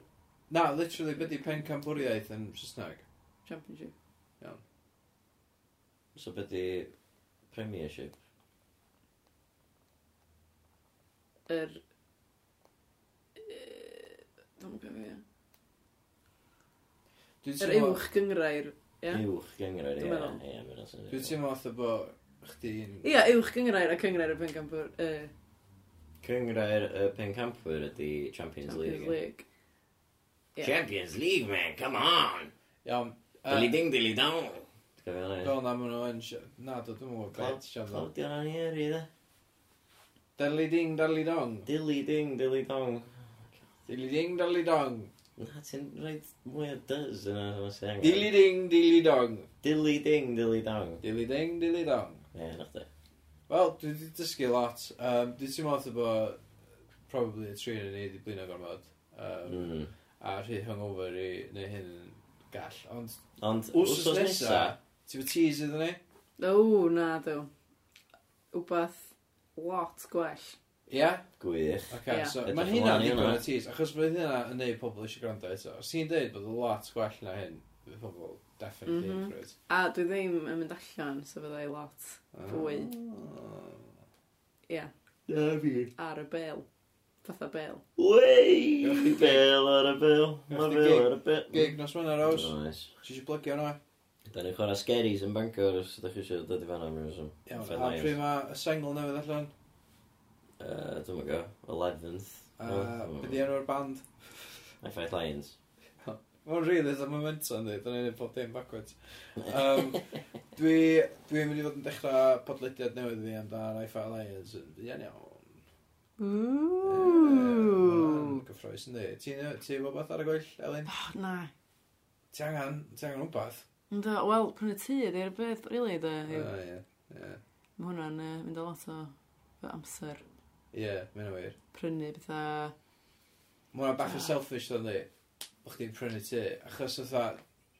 S3: Na, literally, be di pencampwriaeth yn Saesneg?
S4: Championship.
S2: So beth di Premiership?
S4: Yr... Yy, Dwi'n gwybod fe.
S3: Dwi'n
S4: Yr
S3: teimlo-
S4: uwch gyngrair Ie.
S2: Uwch gyngrair, ie.
S4: Dwi'n meddwl.
S2: Ie, mae'n asyn.
S3: Dwi'n teimlo fatha bod chdi'n...
S4: Ia, uwch gyngrair a cyngrair y Bengampur uh,
S2: Cyngrair y pencampwyr ydi Champions
S4: Champions
S2: League.
S4: League. Ie.
S2: Champions League, man, come on!
S3: Iawn.
S2: Dilly ding, dilly dong! Ti'n gofio hwnna, ie?
S3: Fel na maen nhw yn... si- Na, do, dwi'n mwyn
S2: Cla-
S3: bet siarad o.
S2: Claudio Ranieri, dde.
S3: Darli ding, darli dong.
S2: Dilly ding, dilly dong.
S3: Dili ding, darli dong.
S2: Na, ti'n rhaid mwy o dys yna, mae'n sy'n angen.
S3: Dili ding, dili dong.
S2: Dilly ding, dilly dong.
S3: Dili ding, dili dong.
S2: Ie, na chdi.
S3: Wel, dwi wedi dysgu lot. Um, dwi ti'n meddwl bod probably y tri yn ni wedi blino gorfod. Um,
S2: Mm.
S3: A rhy hungover i neu hyn yn gall. Ond
S2: Ond,
S3: wsos
S2: wsos
S3: nesa,
S2: nesa,
S3: ti'n bod teas iddyn ni?
S4: O, na, dw. Wbath lot gwell.
S3: Ia?
S2: gwych.
S3: Oce,
S4: Ie.
S3: so
S2: Edrych ymlaen
S3: mae hynna'n
S2: i
S3: ddigon
S2: hwnna.
S3: o teas. Achos mae hynna yn neud pobl eisiau gwrando eto. Os ti'n deud bod y lot gwell na hyn, bydd pobl definitely
S4: Mhm.
S3: mm -hmm.
S4: A dwi ddim yn mynd allan, so fyddai lot fwy.
S3: Ah.
S4: Ia,
S2: Na fi.
S4: ar y bel. Fatha bel.
S2: Wey!
S3: Gewch chi
S2: Bel ar y bel.
S3: Gewch
S2: Mae
S3: chi
S2: bel
S3: gig?
S2: ar y bel.
S3: Gig nos fyna, Rose.
S2: Nice.
S3: Ti eisiau plygio hwnna?
S2: Da ni'n chwarae sgeris yn Bangor os ydych chi eisiau dod i fan am rhywun.
S3: Iawn, a pryd mae y single newydd allan?
S2: Dwi'n mynd go, 11th.
S3: Uh, Byddi enw'r band?
S2: Effaith Lions.
S3: Mae'n rili dda momentum dwi, dyna ni'n pob dim backwards. Um, dwi, dwi'n mynd i fod yn dechrau podlediad newydd fi amdan iFi Alliance yn fuan iawn. Ooh. Gyffroes yn di. Ti'n ti bod beth ar y gwyll, Elin?
S4: Na.
S3: Ti angen, ti angen rhywbeth.
S4: Ynddo, wel, prynu tŷ, di'r beth, rili,
S3: Ah,
S4: really, dwi.
S3: Ie, ie.
S4: Mae hwnna'n yy, mynd o lot o fy amser.
S3: Ie, mae'n wir.
S4: Prynu bethau...
S3: Mae hwnna bach yn selfish dda ni. O'ch ti'n prynu ti. Achos o'n dda,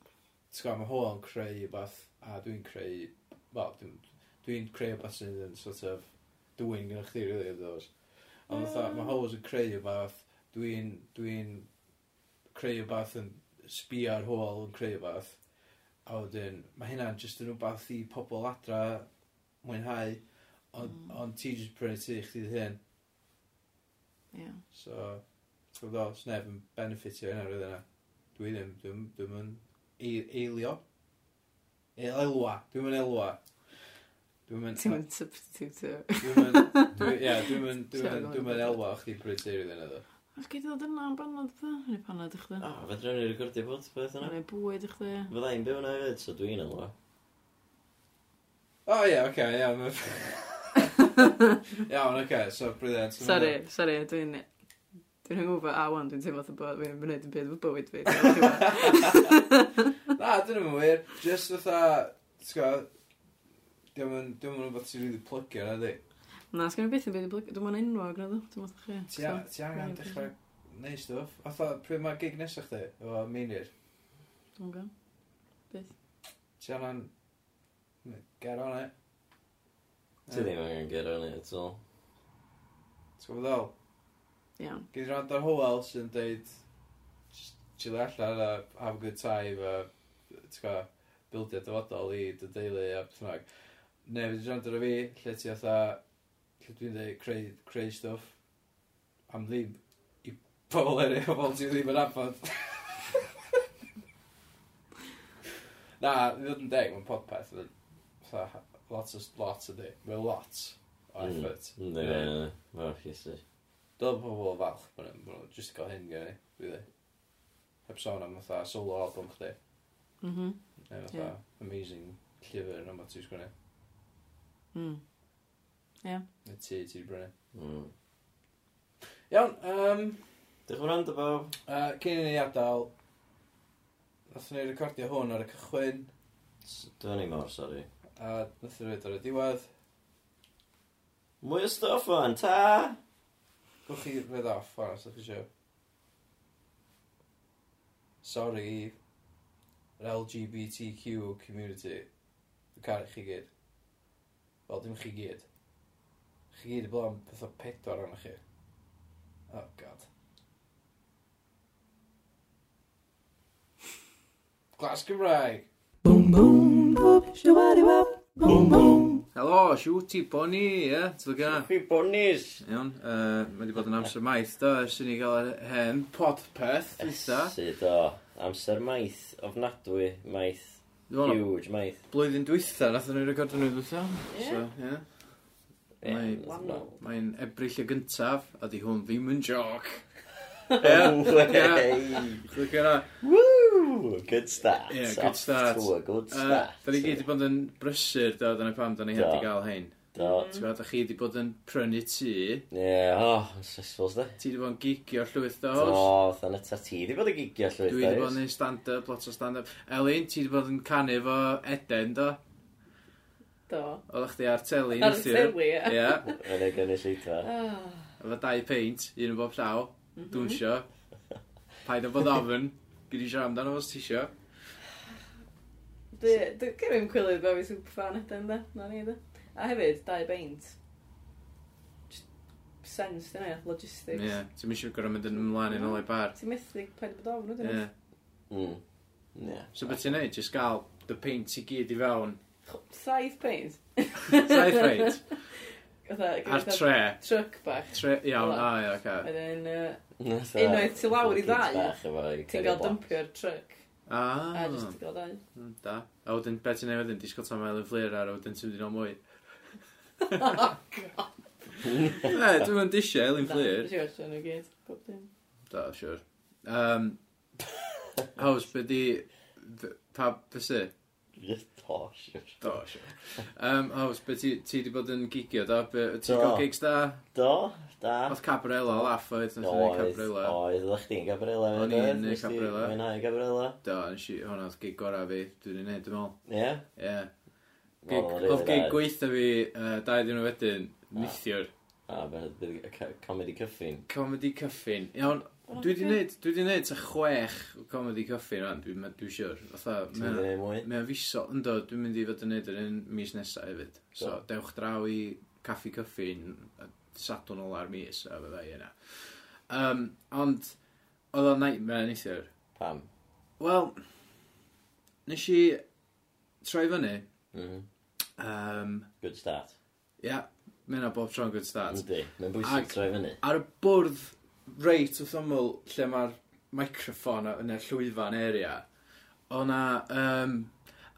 S3: ti'n gwybod, mae hwn yn creu beth, a dwi'n creu, wel, dwi'n dwi'n creu beth sydd yn sort of dwi'n gyda chdi, really, of those. Ond o'n dda, mae hwn yn creu beth, dwi'n, dwi'n creu beth yn sbio ar hwl yn creu beth. A wedyn, mae hynna'n just yn rhywbeth i pobl adra mwynhau, ond
S4: Mm.
S3: on ti jyst prynu ti chdi dy hyn.
S4: Ie.
S3: So, ti'n gwybod, os neb yn benefitio yna rydyn yna. Dwi ddim, dwi'n dwi yn ei- eilio. E- Elwa, dwi'n yn elwa. Dwi'n yn...
S4: Ti'n mynd substitute.
S3: Dwi'n yn... dwi- Ie, dwi'n yn...
S4: Sorry, go on.
S3: Dwi'n yn elwa o'ch bryd teir iddyn nhw.
S4: Os gei di ddod yna am banod bydda? Neu panod i chdi?
S2: O, fe drwy'n ei recordio bod beth yna.
S4: Neu bwyd i chdi?
S2: Fydda i'n byw yna hefyd, so dwi'n alwa.
S3: O ie, oce, ie. ma- Iawn, oce, so brydant.
S4: Sorry, sorry, dwi'n... Dwi'n hungover a wan, dwi'n teimlo fatha bod fi'n mynd yn byd fy bywyd fi. Dwi'n
S3: Na, dyn nhw'n wir. Just fatha, ti'n gwybod, dwi'n yn... Dwi'n yn rhywbeth sy'n rili plygio yna, di.
S4: Na, sgan i byth yn byd i blygu. Dwi'n mynd enwog na ddo, dwi'n mynd chi.
S3: Ti a- ti angen dechrau neud stwff. Otho, pryd mae gig nesaf chdi, efo meinir,
S4: Dwi'n gan.
S3: ti angen ger on it.
S2: Ti ddim angen gyrra ni at all.
S3: Ti'n gwybod ddol?
S4: Iawn.
S3: Gyd rand ar Howell sy'n deud, just chill allan a have a good time a, ti'n gwybod, bildio dyfodol i dy deulu a beth bynnag. Neu fydd rand ar y fi, lle ti otha, lle dwi'n deud, creu, creu stwff. Am ddim i pobl eraill, pobl ti ddim yn abod. Na, i ddod yn deg, mae'n podpeth. yn- fatha, Lots of lots ydi. Mae lot o
S2: Mm.
S3: effort.
S2: Ynddi, fe yna. Mae'n ffysi.
S3: Dyl pobl falch, bod nhw'n bod nhw jyst yn cael hyn gen i, really. Heb sôn am fatha solo album chdi,
S4: Mhm.
S3: neu fatha
S4: Ie.
S3: amazing llyfr yn yma ti'n sgwini,
S4: Mm.
S3: neu ti ti wedi brynu.
S2: Mm.
S3: Iawn, um,
S2: Diolch yn rand o bob.
S3: uh, cyn i ni adael, nathon ni recordio hwn ar y cychwyn,
S2: S- Dwi'n ei mor, sori.
S3: a nathon ni roed ar y diwedd.
S2: Mwy o stuff o'n, ta!
S3: Gwch chi fydd off, fan, os ydych chi eisiau. Sorry, yr LGBTQ community. Dwi'n caru chi gyd. Wel, dim chi gyd. Chi gyd y blaen pethau pedwar arnoch chi. Oh, god. Glas Gymraeg!
S7: Boom boom. Boom boom.
S8: Helo, siwti, Bonnie, ie, ti'n gynna?
S2: Fi bonis!
S8: Iawn, uh, mae wedi bod yn amser maith, do, ers i ni gael yr hen podpeth, dwytha.
S2: Sydd o. Amser maith, ofnadwy maith.
S3: Dwi'n meddwl,
S2: Huge, maith.
S3: blwyddyn dwytha, nath nhw'n recordio nhw dwytha.
S4: Ie.
S3: So, ie.
S2: Ie,
S3: Mae-
S2: wahanol.
S3: Mae'n ebryll y gyntaf, a di hwn ddim yn joc.
S2: No
S3: Ie, ie.
S2: way.
S3: Clic yna.
S2: Woo! Good start.
S3: Ie, good
S2: Off
S3: start.
S2: to a Good
S3: Da
S2: start.
S3: ni gyd i bod yn brysur, da, dyna pam, da ni heb
S2: Do.
S3: i gael hyn.
S4: Mm.
S2: Do.
S3: Ti'n gwybod, da chi wedi bod yn prynu tŷ,
S2: Ie, oh, stressful, sdi.
S3: ti wedi bod yn gigio llwyth o
S2: Do,
S3: hos,
S2: fatha neta ti wedi bod yn gigio llwyth
S3: Oh, dwi wedi
S2: oes?
S3: bod yn neud stand-up, lot o stand-up. Elin, ti wedi bod yn canu fo Eden, do?
S4: Do.
S3: Oeddech chdi ar teli
S4: Ar y
S3: neithiwr.
S4: teli, ie.
S3: Ie,
S2: Yn y gynnu lleidfa.
S4: Ah,
S3: efo dau peint, un o bob llaw,
S4: Mhm.
S3: dwnsio. Paid o bod ofyn, gyd i siarad amdano fos ti isio.
S4: Dwi, dwi gen i'n cwilydd bod fi super fan ydyn da, na ni da. A hefyd, dau beint. Just sense, dyna ia, logistics.
S3: Ie, ti'n mysio gorau mynd yn ymlaen yn ôl i bar.
S4: Ti'n methu paid bod ofn, ydyn
S3: Ie.
S4: nhw?
S2: Mm. Ie.
S3: So beth ti'n neud? Jyst gael dy peint i gyd i fewn.
S4: Ch- Saith beint.
S3: Saith peint.
S4: Fatha,
S3: Ar
S4: gyda
S3: tre.
S4: truck bach.
S3: Tre, iawn,
S4: Wel.
S3: a ia, oce.
S4: Wedyn, yy,
S2: Fatha
S4: Unwaith ti lawr i
S2: kids
S4: ddau,
S2: bach efo i
S4: ti'n
S2: cario
S4: cael
S2: box.
S4: dympio'r truck. A
S3: Ah,
S4: jyst ti'n cael dau.
S3: mm, da. A wedyn, beth ti'n neud wedyn? Disgwyl tam ail yn fflir ar a wedyn ti'n mynd i mwy. E, dwi'n mynd eisiau ail yn
S4: Da,
S3: fflir.
S4: Nes i watch nhw gyd, bob dim.
S3: Da, siwr. Um, Haws, be di... th- Pa, bysu?
S2: Just posh.
S3: Do, siwr. Um, Haws, be ti, ti di bod yn gigio, da? Be- Ti'n
S2: Do.
S3: gael gigs da?
S2: Do, da.
S3: Oedd Cabrella laff oedd, nath o'n
S2: Oedd,
S3: Cabrella.
S2: oedd, oedd chdi'n Gabriela.
S3: O'n
S2: hefyd, oedd?
S3: i'n, yy,
S2: Nes di
S3: Gabriela.
S2: Mwynhau Gabriela.
S3: Do, nes i, hwnna oedd gig gorau fi, dwi'n ei wneud, dwi'n meddwl.
S2: Ie.
S3: Ie.
S2: Wel,
S3: Gig-
S2: rili
S3: Oedd gig
S2: dda.
S3: gweitha fi uh, dau ddyn nhw wedyn, neithiwr.
S2: A, beth bydd y co- comedy cyffin.
S3: Comedy cyffin. Iawn, dwi di wneud, dwi di wneud ta chwech o comedy cyffin rhan, dwi'n dwi siwr. Fatha,
S2: Ti'n
S3: mae-
S2: mynd i mwy?
S3: mae o'n fisol, ynddo, dwi'n mynd i fod yn wneud yr un mis nesaf hefyd. So, dewch draw i caffi cyffin, a sadwn ola'r mis, a fydda i yna. Um, ond, oedd o'n nightmare neithiwr.
S2: Pam?
S3: Wel, nes i troi fyny,
S2: Mhm.
S3: um,
S2: Good start.
S3: ia, mae yna bob tro'n good start.
S2: Yndi. Mae'n
S3: Ag-
S2: bwysig troi fyny.
S3: ar y bwrdd reit wrth ymyl lle mae'r microffon yn y llwyfan area, o'na... Um,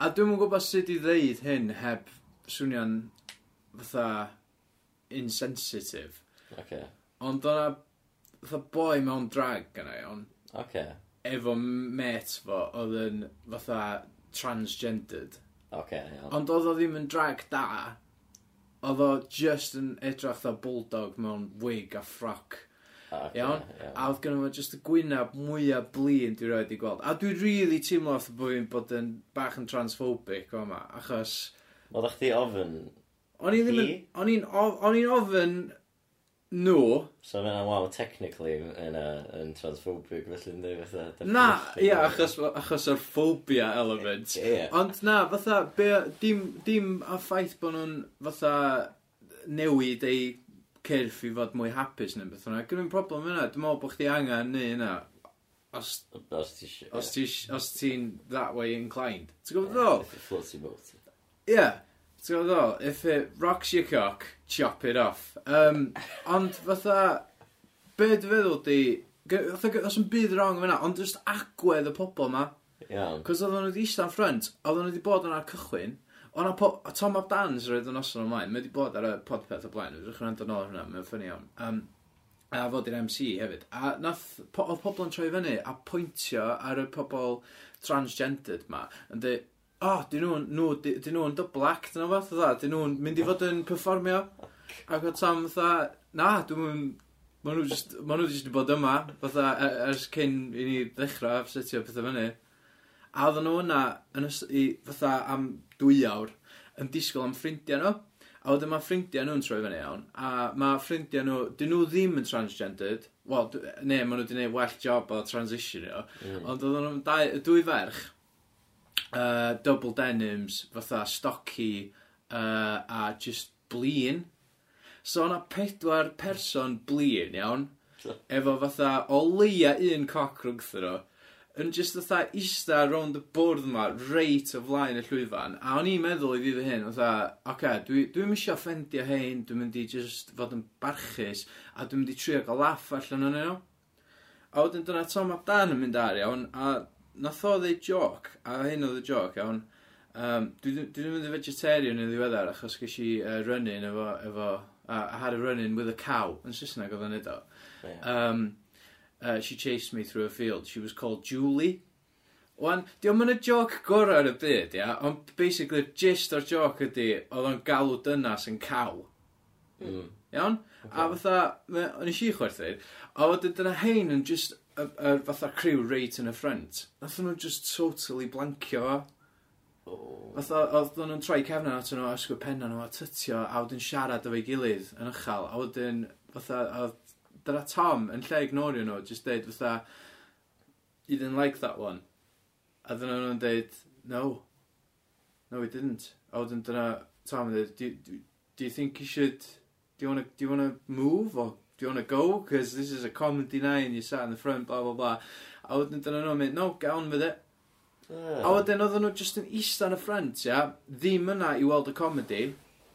S3: a dwi'm yn gwybod sut i ddeud hyn heb swnio'n fatha insensitive.
S2: Oce.
S3: Ond o'na fatha boi mewn drag gyda iawn,
S2: Oce.
S3: efo met fo oedd yn fatha transgendered.
S2: Oce, iawn.
S3: Ond oedd o ddim yn drag da, oedd o just yn edrych fatha bulldog mewn wig a ffroc.
S2: Oce,
S3: Iawn. A
S2: iawn.
S3: oedd gynnu fo jyst y gwynaf mwyaf blin dwi'n rhaid i gweld. A dwi'n really teimlo oedd bod fi'n bod yn bach yn transphobic o yma, achos...
S2: Oedd chdi ofyn,
S3: O'n i ddim yn...
S2: Hi?
S3: O'n i'n of- o'n i'n ofyn nhw...
S2: so mae'n waw, technically, yn, uh, yn transphobic, felly ynddi, fatha.
S3: Na,
S2: definition.
S3: ia, achos, achos o'r phobia element.
S2: Ie.
S3: Ond na, fatha, be, dim, dim a ffaith bod nhw'n fatha newid ei cyrff i fod mwy hapus neu beth hwnna. Gwneud problem yna, dwi'n meddwl bod chdi angen neu yna. Os
S2: Os ti isio.
S3: Os
S2: ie.
S3: ti os ti'n that way inclined. Ti'n gwybod ddol?
S2: It's a Floaty boat.
S3: Ie. Ti'n gwybod ddol? If it rocks your cock, chop it off. Um, ond fatha, be dwi'n feddwl di, gy- fatha gy- os yn byd wrong fyna, ond just agwedd y pobol ma.
S2: Iawn.
S3: Cos oedden nhw wedi eistedd yn ffrant, oedden nhw wedi bod yna ar cychwyn, O'na po, a Tom Ab Dans roedd yn oson ymlaen, mae wedi bod ar y podpeth o blaen, wedi'ch rhan dod nôl ar hwnna, mae'n ffynnu iawn. Um, a fod i'r MC hefyd. A nath, po, oedd pobl yn troi fyny a pwyntio ar y pobl transgendered ma, yn dweud, o, oh, dyn nhw'n nhw, di, di nhw double act yna fath o dda, dyn nhw'n mynd i fod yn performio. Ac o Tom fatha, na, dwi'n mynd, ma nhw just, ma nhw just wedi bod yma, fatha, e- ers cyn i ni ddechrau, setio pethau fyny. A oedden nhw yna, yn ys- i, fatha am dwy awr, yn disgwyl am ffrindiau nhw. A wedyn mae ffrindiau nhw'n troi fyny iawn. A mae ffrindiau nhw, dyn nhw ddim yn transgendered. Wel, d- ne, maen nhw wedi gwneud well job o transition nhw. Mm. Ond oedden nhw'n dau- dwy ferch, uh, double denims, fatha stocky uh, a just blin. So o'na pedwar person blin iawn, efo fatha o leia un coc rwngthyn nhw, yn just fatha ista rownd y bwrdd yma, reit o flaen y llwyfan, a o'n i'n meddwl i fi fy hyn, fatha, oce, okay, dwi'n dwi eisiau offendio hein, dwi'n mynd i just fod yn barchus, a dwi'n mynd i trio gael laff allan o'n nhw. A wedyn dyna Tom Abdan yn mynd ar iawn, a nath o ddeud joc, a hyn oedd y joc iawn, Um, dwi dwi- dwi ddim yn vegetarian yn ddiweddar achos ges i uh, running efo, efo uh, I had a run-in with a cow yn Saesneg oedd yn edo
S2: Ie.
S3: um, uh, she chased me through a field. She was called Julie. Wan, di o'n mynd y joc gorau ar y byd, ia, ond basically, gist o'r joc ydi, oedd o'n galw dynas yn caw.
S2: Mm.
S3: Iawn? A fatha, me- o'n i si chwerthin, a oedd y dyna hein yn just, y, y, fatha crew reit yn y ffrant. Nathon nhw just totally blancio fo.
S2: O.
S3: Fatha, oedd nhw'n troi cefna atyn nhw, ysgwyl penna nhw, a tytio, a wedyn siarad efo'i gilydd yn ychal, a wedyn, fatha, a dyna Tom, yn lle ignorio nhw, just deud, fatha, you didn't like that one. A dyna nhw'n deud, no, no, we didn't. A wedyn dyna Tom yn deud, do, do, do you think you should, do you wanna, do you wanna move, or do you wanna go, because this is a comedy night, and you sat in the front, blah, blah, blah. A wedyn dyna nhw'n mynd, no, get on with it. A wedyn oedden nhw just yn eistedd yn y ffrant, ia, ddim yna i weld y comedi,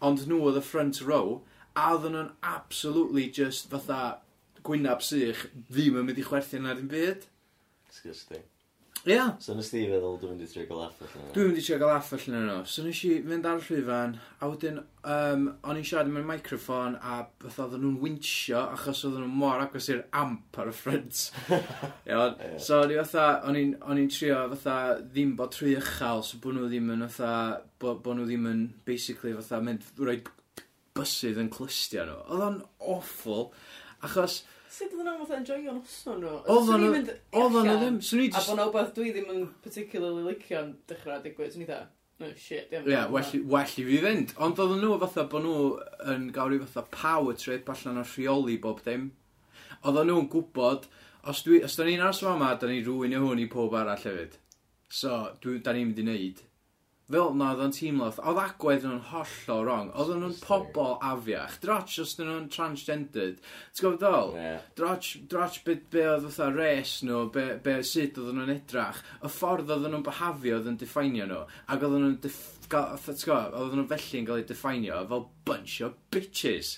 S3: ond nhw oedd y front row, a oedden nhw'n absolutely just fatha gwynab sych, ddim yn mynd i chwerthu yna ddim byd.
S2: Disgusting.
S3: Ia, yeah.
S2: So nes ti feddwl dwi'n mynd i trio gael effaith yna?
S3: Dwi'n mynd i trio gael aff allan yno. So nes i fynd ar y llwyfan, a wedyn um, o'n i'n siarad mewn microffon a beth oedden nhw'n winsio achos oedden nhw mor agos i'r amp ar y ffrant. Iawn.
S2: Ie.
S3: so o'n i fatha, o'n i'n- o'n i'n trio fatha ddim bod trwy uchel, so bod nhw ddim yn fatha, bod, bod nhw ddim yn basically fatha mynd rhoi bysydd yn clystio nhw. Oedd o'n awful, achos
S4: Sut oedden nhw'n fatha enjoy'n noson nhw?
S3: Oedden nhw-
S4: mynd
S3: oedd o'n
S4: allan,
S3: ddim, swn i
S4: A
S3: just...
S4: bod na wbeth dwi ddim yn particularly licio'n dechrau digwydd, swn i dda. No, shit,
S3: Ie, yeah, well, well i fi fynd. Ond oedden nhw fatha bod nhw yn gawr i fatha power trip allan o'r rheoli bob dim. Oedden nhw'n gwybod, os, dwi, os da ni'n aros fama, da ni'n rwy'n i hwn i pob arall hefyd. So, dwi, da ni'n mynd i wneud. Fel na oedd o'n teimlo, oedd agwedd nhw'n hollol wrong. Oedden nhw'n
S2: Interesting.
S3: pobol afiach. Drots os dyn nhw'n transgendered. T'w gwybod ddol?
S2: Ie.
S3: Droch, droch be, be oedd fatha res nhw, be, be sut oedden nhw'n edrach, y ffordd oedden nhw'n behafio oedd yn definio nhw, ac oedden nhw'n def- ga- fatha, ti'n gwbod, oedden nhw felly yn cael eu definio fel bunch o bitches.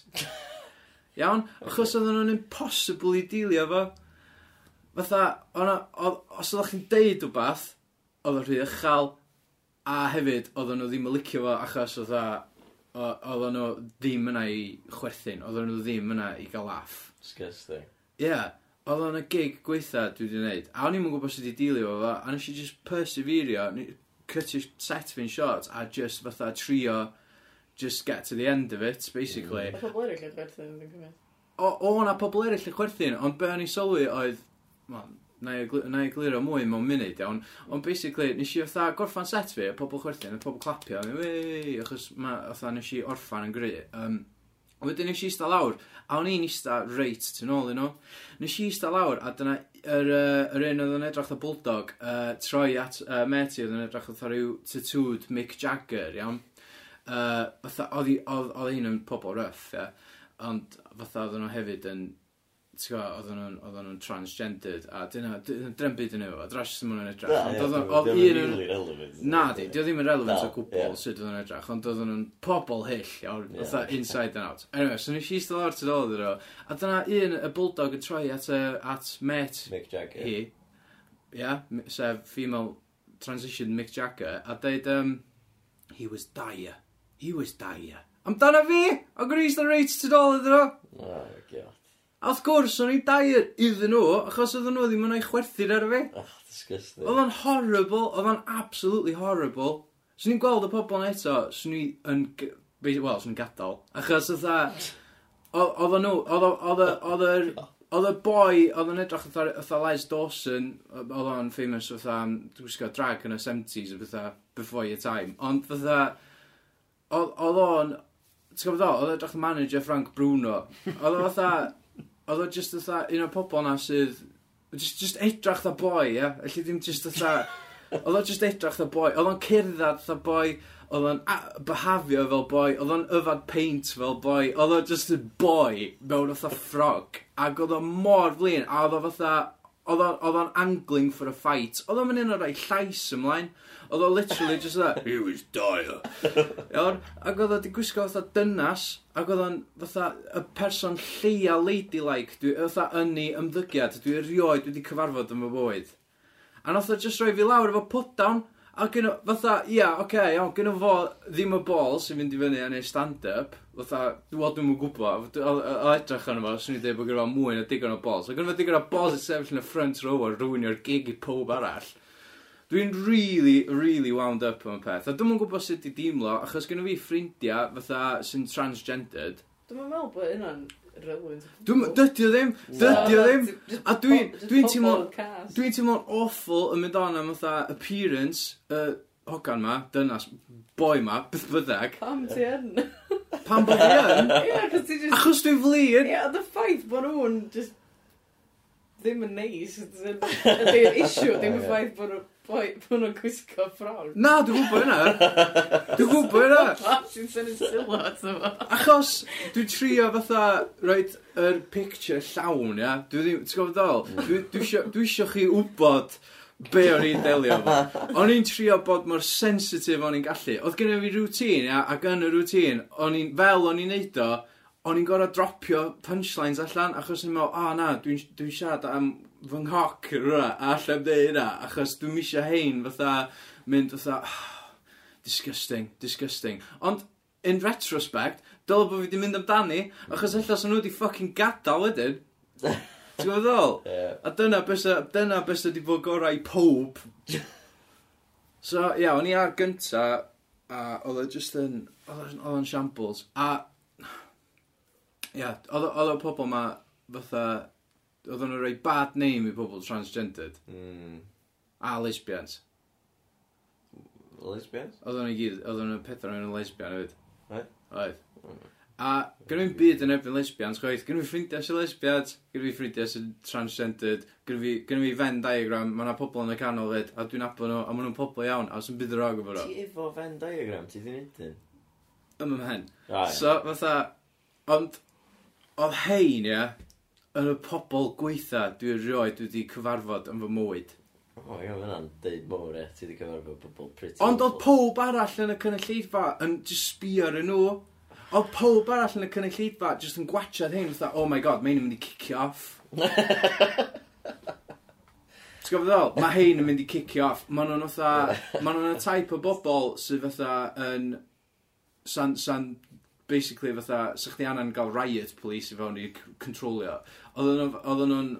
S3: Iawn? Achos oedden nhw'n impossible i dilio fo. Fatha, o'na, oedd- os oeddech chi'n deud wbath, oedd o'n rhy uchel, a hefyd oedden nhw ddim yn licio fo achos oedd oedden nhw ddim yna i chwerthin, oedden nhw ddim yna i gael laff.
S2: Disgusting.
S3: Ie, yeah, oedd o'n y gig gweitha dwi wedi wneud, a o'n i'm yn gwybod sut i dealio efo fo, a nes i just perseverio, ni- cut your set fi'n short, a just fatha trio, just get to the end of it, basically.
S4: Mae pobl eraill yn gwerthu, dwi'n cymryd.
S3: O, o na pobl eraill yn chwerthin, ond be o'n i sylwi oedd, wel, na i egli- na i egluro mwy mewn munud, iawn, ond basically, nes i fatha gorffan set fi, a pobl chwerthin, a pobl clapio, a mi, wei, achos ma, fatha nes i orffan yn gry. Um, Wedyn nes i ista lawr, a o'n i'n ista reit tu nôl i nhw. Nes i ista lawr, a dyna yr, uh, yr un oedd yn edrych o bulldog, uh, troi at uh, Meti oedd yn edrych o rhyw tattooed Mick Jagger, iawn. Uh, fatha, oedd hi- oedd- oedd hi'n yn pobl rough, ia. Ond fatha oedden nhw hefyd yn, ti'n gwbod, oedden nhw'n oedden nhw'n transgendered, a dyna, dyna dyna'n byd yn nhw, a dras ddim yn edrych.
S2: Na,
S3: Ond
S2: ie,
S3: oedd-
S2: dwi'n-
S3: oedd
S2: dwi'n
S3: un yn-
S2: really relevant.
S3: Na di, di o ddim yn relevant
S2: Na,
S3: o gwbl
S2: ie.
S3: sut oedd yn edrych, ond oedd nhw'n pobol hyll, iawn,
S2: Ie.
S3: yeah. inside and out. Anyway, so nes i eistedd lawr tyd ôl ddyn nhw, a dyna un y bulldog yn troi at, uh, at met
S2: Mick Jagger.
S3: hi, ia, m- sef female transition Mick Jagger, a dweud, um, he was dire, he was dire. Amdana fi, o gwneud eistedd reit tyd ôl ydyn nhw.
S2: Oh, god.
S3: A wrth gwrs, o'n i'n dire iddyn nhw, achos oedden nhw ddim yn o'i chwerthin ar fi.
S2: Oh, disgusting.
S3: Oedd o'n horrible, oedd o'n absolutely horrible. Swn i'n gweld y pobl yna eto, swn i yn... g- be- Wel, swn i'n gadael. Achos oedd a... Oedd nhw, oedd o- oedd y- oedd yr... Oedd y boi, oedd yn edrych fatha fatha Les Dawson, oedd o'n famous fatha, am gwisgo drag yn y 70s a fatha, before your time, ond fatha, oedd oedd o'n, ti'n gwybod o, oedd edrych yn manager Frank Bruno, oedd o fatha, oedd o just fatha, un o'r pobol na sydd Just, just edrach dda boi, ia. Elli ddim just dda... Oedd o'n just edrach dda boi. Oedd o'n cerddad dda boi. Oedd o'n a- behafio fel boi. Oedd o'n yfad paint fel boi. Oedd o'n just a boi mewn fatha ffrog. Ac oedd o'n mor flin. A oedd o fatha... Oedd o'n- oedd o'n angling for a fight. Oedd o'n mynd un o'r ei llais ymlaen. Oedd o literally just that. He was dire. Iawn, ac oedd o wedi gwisgo fatha dynas, ac oedd o'n fatha y person lleia ladylike, dwi, fatha yn ei ymddygiad, dwi erioed wedi cyfarfod yn fy bywyd. A nath o just roi fi lawr efo put down, A gyno, fatha, ia, oce, okay, iawn, gyno fo ddim y bol sy'n mynd i fyny a neud stand-up, fatha, wel, dwi'n mwyn gwybod, o o edrych arno fo, swn i dweud bod gyno fo mwy na digon o bol. So gyno fo digon o bol sy'n sefyll yn y front row a rwynio'r gig i pob arall. Dwi'n really, really wound up am y peth. A dwi'n mwyn gwybod sut i deimlo, achos gyno fi ffrindiau, fatha, sy'n transgendered.
S4: Dwi'n meddwl bod hynna'n relevant.
S3: Dwi'n, dydy o ddim, dydy o ddim. A dwi'n, dwi'n teimlo,
S4: Dwi'n...
S3: Dwi'n teimlo'n awful yn mynd on am fatha appearance, y uh, hogan ma, dynas, boi ma, beth byddag.
S4: Pam ti yn?
S3: Pan bod fi yn?
S4: Ie, cos ti just...
S3: Achos dwi'n flin!
S4: Ie, the ffaith bod nhw'n just... Ddim yn neis. Ydy'r issue, ddim y ffaith bod nhw- boi- bod nhw'n gwisgo ffrog.
S3: Na, dwi'n gwybod yna. Dwi'n gwybod yna.
S4: Pa sy'n sy'n sylw ato fo?
S3: Achos dwi'n trio fatha, roed, yr picture llawn, ia. Dwi ddim, ti'n gwybod ddol? Dwi- dwi isio- Dwi isio chi wybod be o'n i'n delio fo. O'n i'n trio bod mor sensitif o'n i'n gallu. Oedd gen i fi routine, ia, ac yn y routine, o'n i'n, fel o'n i'n neud o, o'n i'n gorau dropio punchlines allan, achos o'n i'n meddwl, o na, dwi'n dwi siarad am fy nghoc yr hwnna, a allai am dweud hynna, achos dwi'n misio hein fatha, mynd fatha, "Ah, disgusting, disgusting. Ond, in retrospect, dyle bod fi wedi mynd amdani, achos ella sy'n nhw wedi fucking gadael wedyn. Ti'n gwybod ddol?
S2: Ie.
S3: A dyna besa, dyna besa di bod gorau i pob. So, ia, yeah, o'n i ar gynta, a oedd e just yn, oedd e'n- oedd o'n shambles. A, ia, yeah, oedd o- oedd y pobol ma, fatha, oedd o'n rhoi bad name i pobol transgendered,
S2: Mm.
S3: a lesbians.
S2: Lesbians?
S3: Oedd o'n i gyd, oedd o'n pethau o'n lesbian hefyd.
S2: Oedd?
S3: Oedd. A gynnu fi'n byd yn erbyn lesbians, chwaith. Gynnu fi ffrindiau sy'n lesbians, gynnu fi ffrindiau sy'n transgendered, gynnu fi Venn diagram, mae yna pobl yn y canol fyd, a dwi'n apod nhw, a maen nhw'n pobl iawn, a sy'n bydd rog efo nhw.
S2: Ti efo Venn diagram, ti di neud un?
S3: Ym ymhen.
S2: Ah, ie.
S3: So, fatha, ond, oedd hein, ia, yn y pobl gweitha dwi'n rioed wedi cyfarfod yn fy mywyd.
S2: O, ie, mae hwnna'n deud mowr e, ti di cyfarfod pobl pretty.
S3: Ond oedd
S2: awful.
S3: pob arall yn y cynulleidfa yn just sbio ar y nhw. Oedd pob arall yn y cynulleidfa just yn gwachad hyn, fatha, oh my god, mae hyn yn mynd i cicio off. Ti'n gofod ddol? Mae hein yn mynd i cicio off. Mae nhw'n fatha, mae nhw'n y type o bobl sydd fatha yn, san, san, basically fatha, sa chdi anna'n gael riot police i fewn i c- controlio. Oedden nhw- oedden nhw'n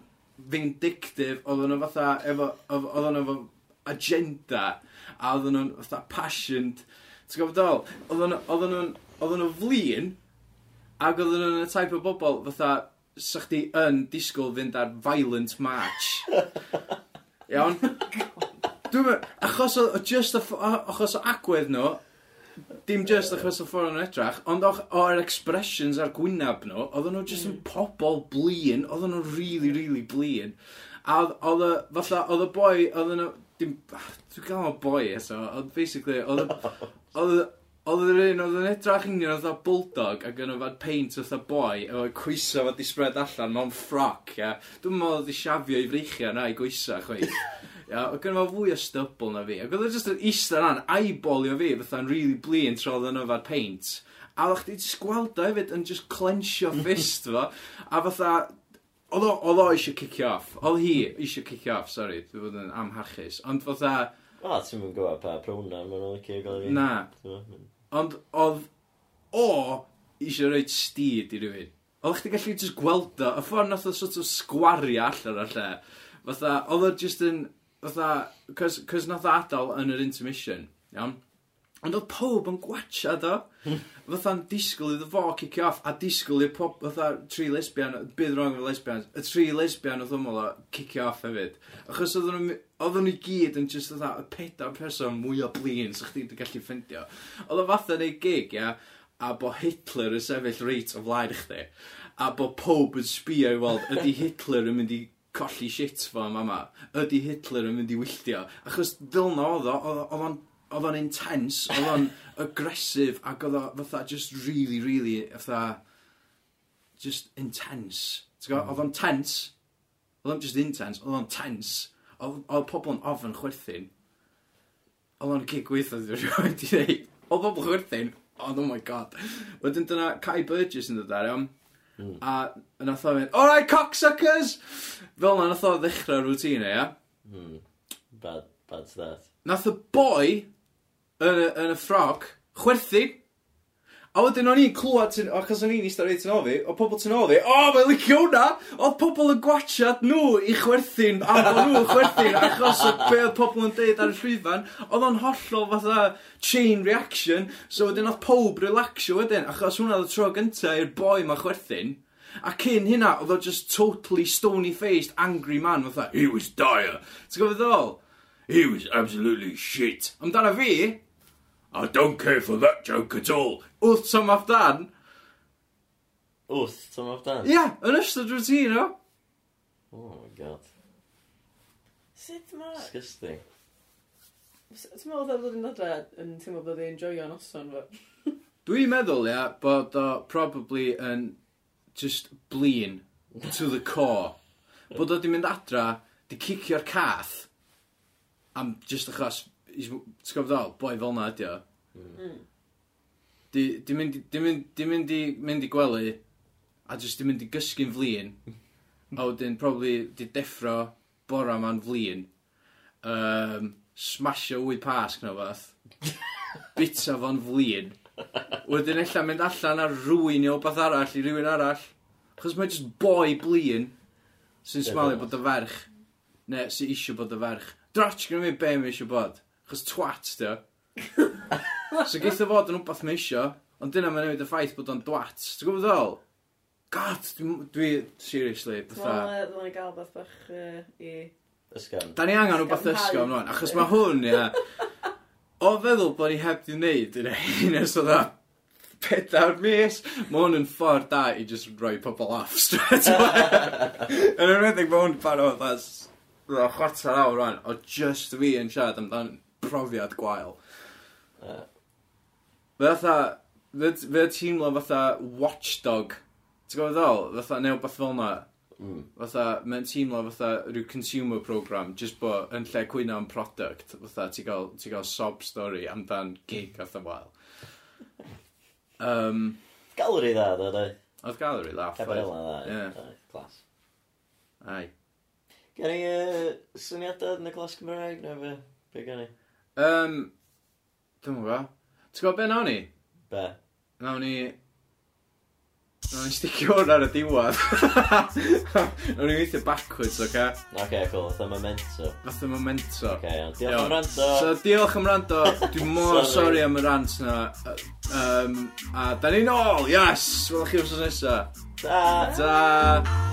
S3: vindictive, oedden nhw fatha, efo, odd- oedden nhw efo agenda, a oedden nhw'n fatha passioned. Ti'n gofod ddol? Oedden nhw- oedden nhw'n, oedden nhw'n flin, ac oedden nhw'n y type o bobl fatha, sa chdi yn disgwyl fynd ar violent march. Iawn? Dwi'n meddwl, achos o, o just o, ff- o- achos o agwedd nhw, dim just achos o ffordd nhw'n edrach, ond och- o'r expressions ar gwynab nhw, oedden nhw just yn pobol blin, oedden nhw really, really blin. A oedd- oedd y, fatha, oedd y boi, oedden nhw, dim, ah, dwi'n gael o boi eto, oedd basically, oedd y- oedd y- Oedd yr un, oedd yn edrach union oedd bulldog ac yn yfad paint oedd boi efo coesa fod i spread allan mewn ffroc, ia. Dwi'n meddwl oedd i siafio i freichia na i goesa, chweith. Ia, oedd gen i fo fwy o stubble na fi. Ac oedd o jyst yn eistedd ran, eyeballio fi, fatha'n really blin tra oedd yn yfad paint. A oedd chdi jyst gweld o hefyd yn just clenchio fist fo. A fatha, oedd o- oedd o eisiau cicio off. Oedd hi eisiau cicio off, sori, dwi'n bod yn amharchus. Ond fatha,
S2: O, ti'n mynd gwybod pa pronoun maen nhw'n licio gael i.
S3: na, Ond oedd o eisiau rhoi stid i rywun. Oedd chdi gallu just gweld o, y ffordd nath o sort of sgwario allan o'r lle. Fatha, oedd o just yn, fatha, cos, cos nath o adael yn yr intermission, iawn? Ond oedd pob yn gwachad o. Fatha'n disgwyl iddo fo cicio off, a disgwyl i'r pop, fatha, tri lesbian, bydd rong efo lesbians, y tri lesbian oedd ymwyl o cicio off hefyd. Achos oedden nhw, oedden nhw i gyd yn just fatha, y pedair person mwy o blin, sa chdi wedi gallu ffeindio. Oedd o fatha neu gig, ia, a bo Hitler yn sefyll reit o flaen i chdi. A bo pob yn sbio i weld, ydy Hitler yn mynd i colli shit fo am ama. Ydy Hitler yn mynd i wylltio. Achos dylna oedd o, oedd o- oedd o'n oedd o'n intense, oedd o'n aggressive ac oedd o fatha just really, really fatha just intense. T'w gwbo? Oedd o'n tense. Oedd o'n just intense, oedd o'n tense. Oedd oedd pobl yn ofyn chwerthin. Oedd o'n cig gweithio dwi'n rhywbeth i ddeud. Oedd pobl chwerthin, ond oh my god. Wedyn dyna Kai Burgess yn dod ar iawn. A nath o mynd, alright cocksuckers! Fel na nath o ddechrau routine, ia?
S2: Bad, bad start.
S3: nath y boi yn y, yn y ffrog chwerthu. A wedyn o'n i'n clywed, tu- achos o'n i'n eistedd reit yn ofi, o pobl ti'n ofi, o, mae'n licio hwnna! Oedd pobl yn gwachad nhw i chwerthin, a bod nhw chwerthin, achos o be oedd pobl yn deud ar y llwyfan, oedd o'n hollol fatha chain reaction, so wedyn oedd pob relaxio wedyn, achos hwnna oedd y tro gyntaf i'r boi ma chwerthin, a cyn hynna oedd o just totally stony-faced, angry man, fatha, he was dire. Ti'n gwybod ddol? He was absolutely shit. Amdana fi, I don't care for that joke at all. Wrth tom off dan.
S2: Wth, Tom of Dan.
S3: Ie, yeah, yn ystod rwyt ti, no?
S2: Oh my god.
S4: Sut ma...
S2: Disgusting.
S4: Sut ma oedd oedd yn adra yn teimlo bod ei enjoyo noson fo?
S3: Dwi'n meddwl, ia, yeah, bod o probably yn just blin to the core. Bod o di mynd adra, di cicio'r cath. Am just achos, is- ti'n gofod dal, boi fel na ydi o. Di, di, mynd, i- di, mynd, di mynd i mynd i gwely, a just di mynd i gysgu'n flin. a wedyn, probably, di deffro bora ma'n flin. Um, smasho wyd pasg na fath. Bita fo'n flin. Wedyn ella mynd allan ar rwy'n neu beth arall i rywun arall. Chos mae jyst boi blin sy'n smalio bod y ferch. Ne, sy'n isio bod y ferch. Dratch gyda mi be mae isio bod. Chos twat, dio. so geitha fod yn wbath mae isio, ond dyna mae'n newid y ffaith bod o'n dwat. Ti'n gwybod ddol? God, dwi, dwi seriously, fatha.
S4: Dwi'n meddwl gael beth bach yy, i...
S2: Ysgan.
S3: Da ni angen wbath ysgol ymlaen, achos mae hwn, ia. O feddwl bod ni heb di wneud yn ein ers oedd pedair mis, mae hwn yn ffordd da i just rhoi pobl off straight away. Yn ymwneud mae hwn pan oedd as o chwarter awr rwan, o just fi yn siarad amdan profiad gwael.
S2: Yy.
S3: Fe fatha, fe fe teimlo fatha watchdog, ti'n gwybod ddol? Fatha neu beth fel na.
S2: Mm.
S3: Fatha, mae'n teimlo fatha rhyw consumer program, just bo yn lle cwyno am product, fatha ti gael, ti gael sob story amdan gig a wael. Um,
S2: Gallery dda, da, da.
S3: oedd gallery laugh.
S2: Cabarella dda.
S3: Ie.
S2: da, Clas.
S3: Ai.
S2: Gen i yy, syniadau yn y glas Cymraeg neu fe? Be gen i?
S3: Um, Dwi'n gwybod. Ti'n gwybod be nawn ni?
S2: Be?
S3: Nawn ni... Nawn ni sticio hwn ar y diwad. nawn ni weithio backwards, oce? Okay?
S2: Oce, cool. Oedd memento.
S3: Fatha momento.
S2: Oce, iawn. Diolch
S3: Iawn.
S2: am rando.
S3: So, diolch am rando. Dwi mor
S2: Sorry.
S3: sori am y rant na. Um, a, da ni'n ôl, yes! Welch chi wrth nesaf.
S2: Ta!
S3: Ta!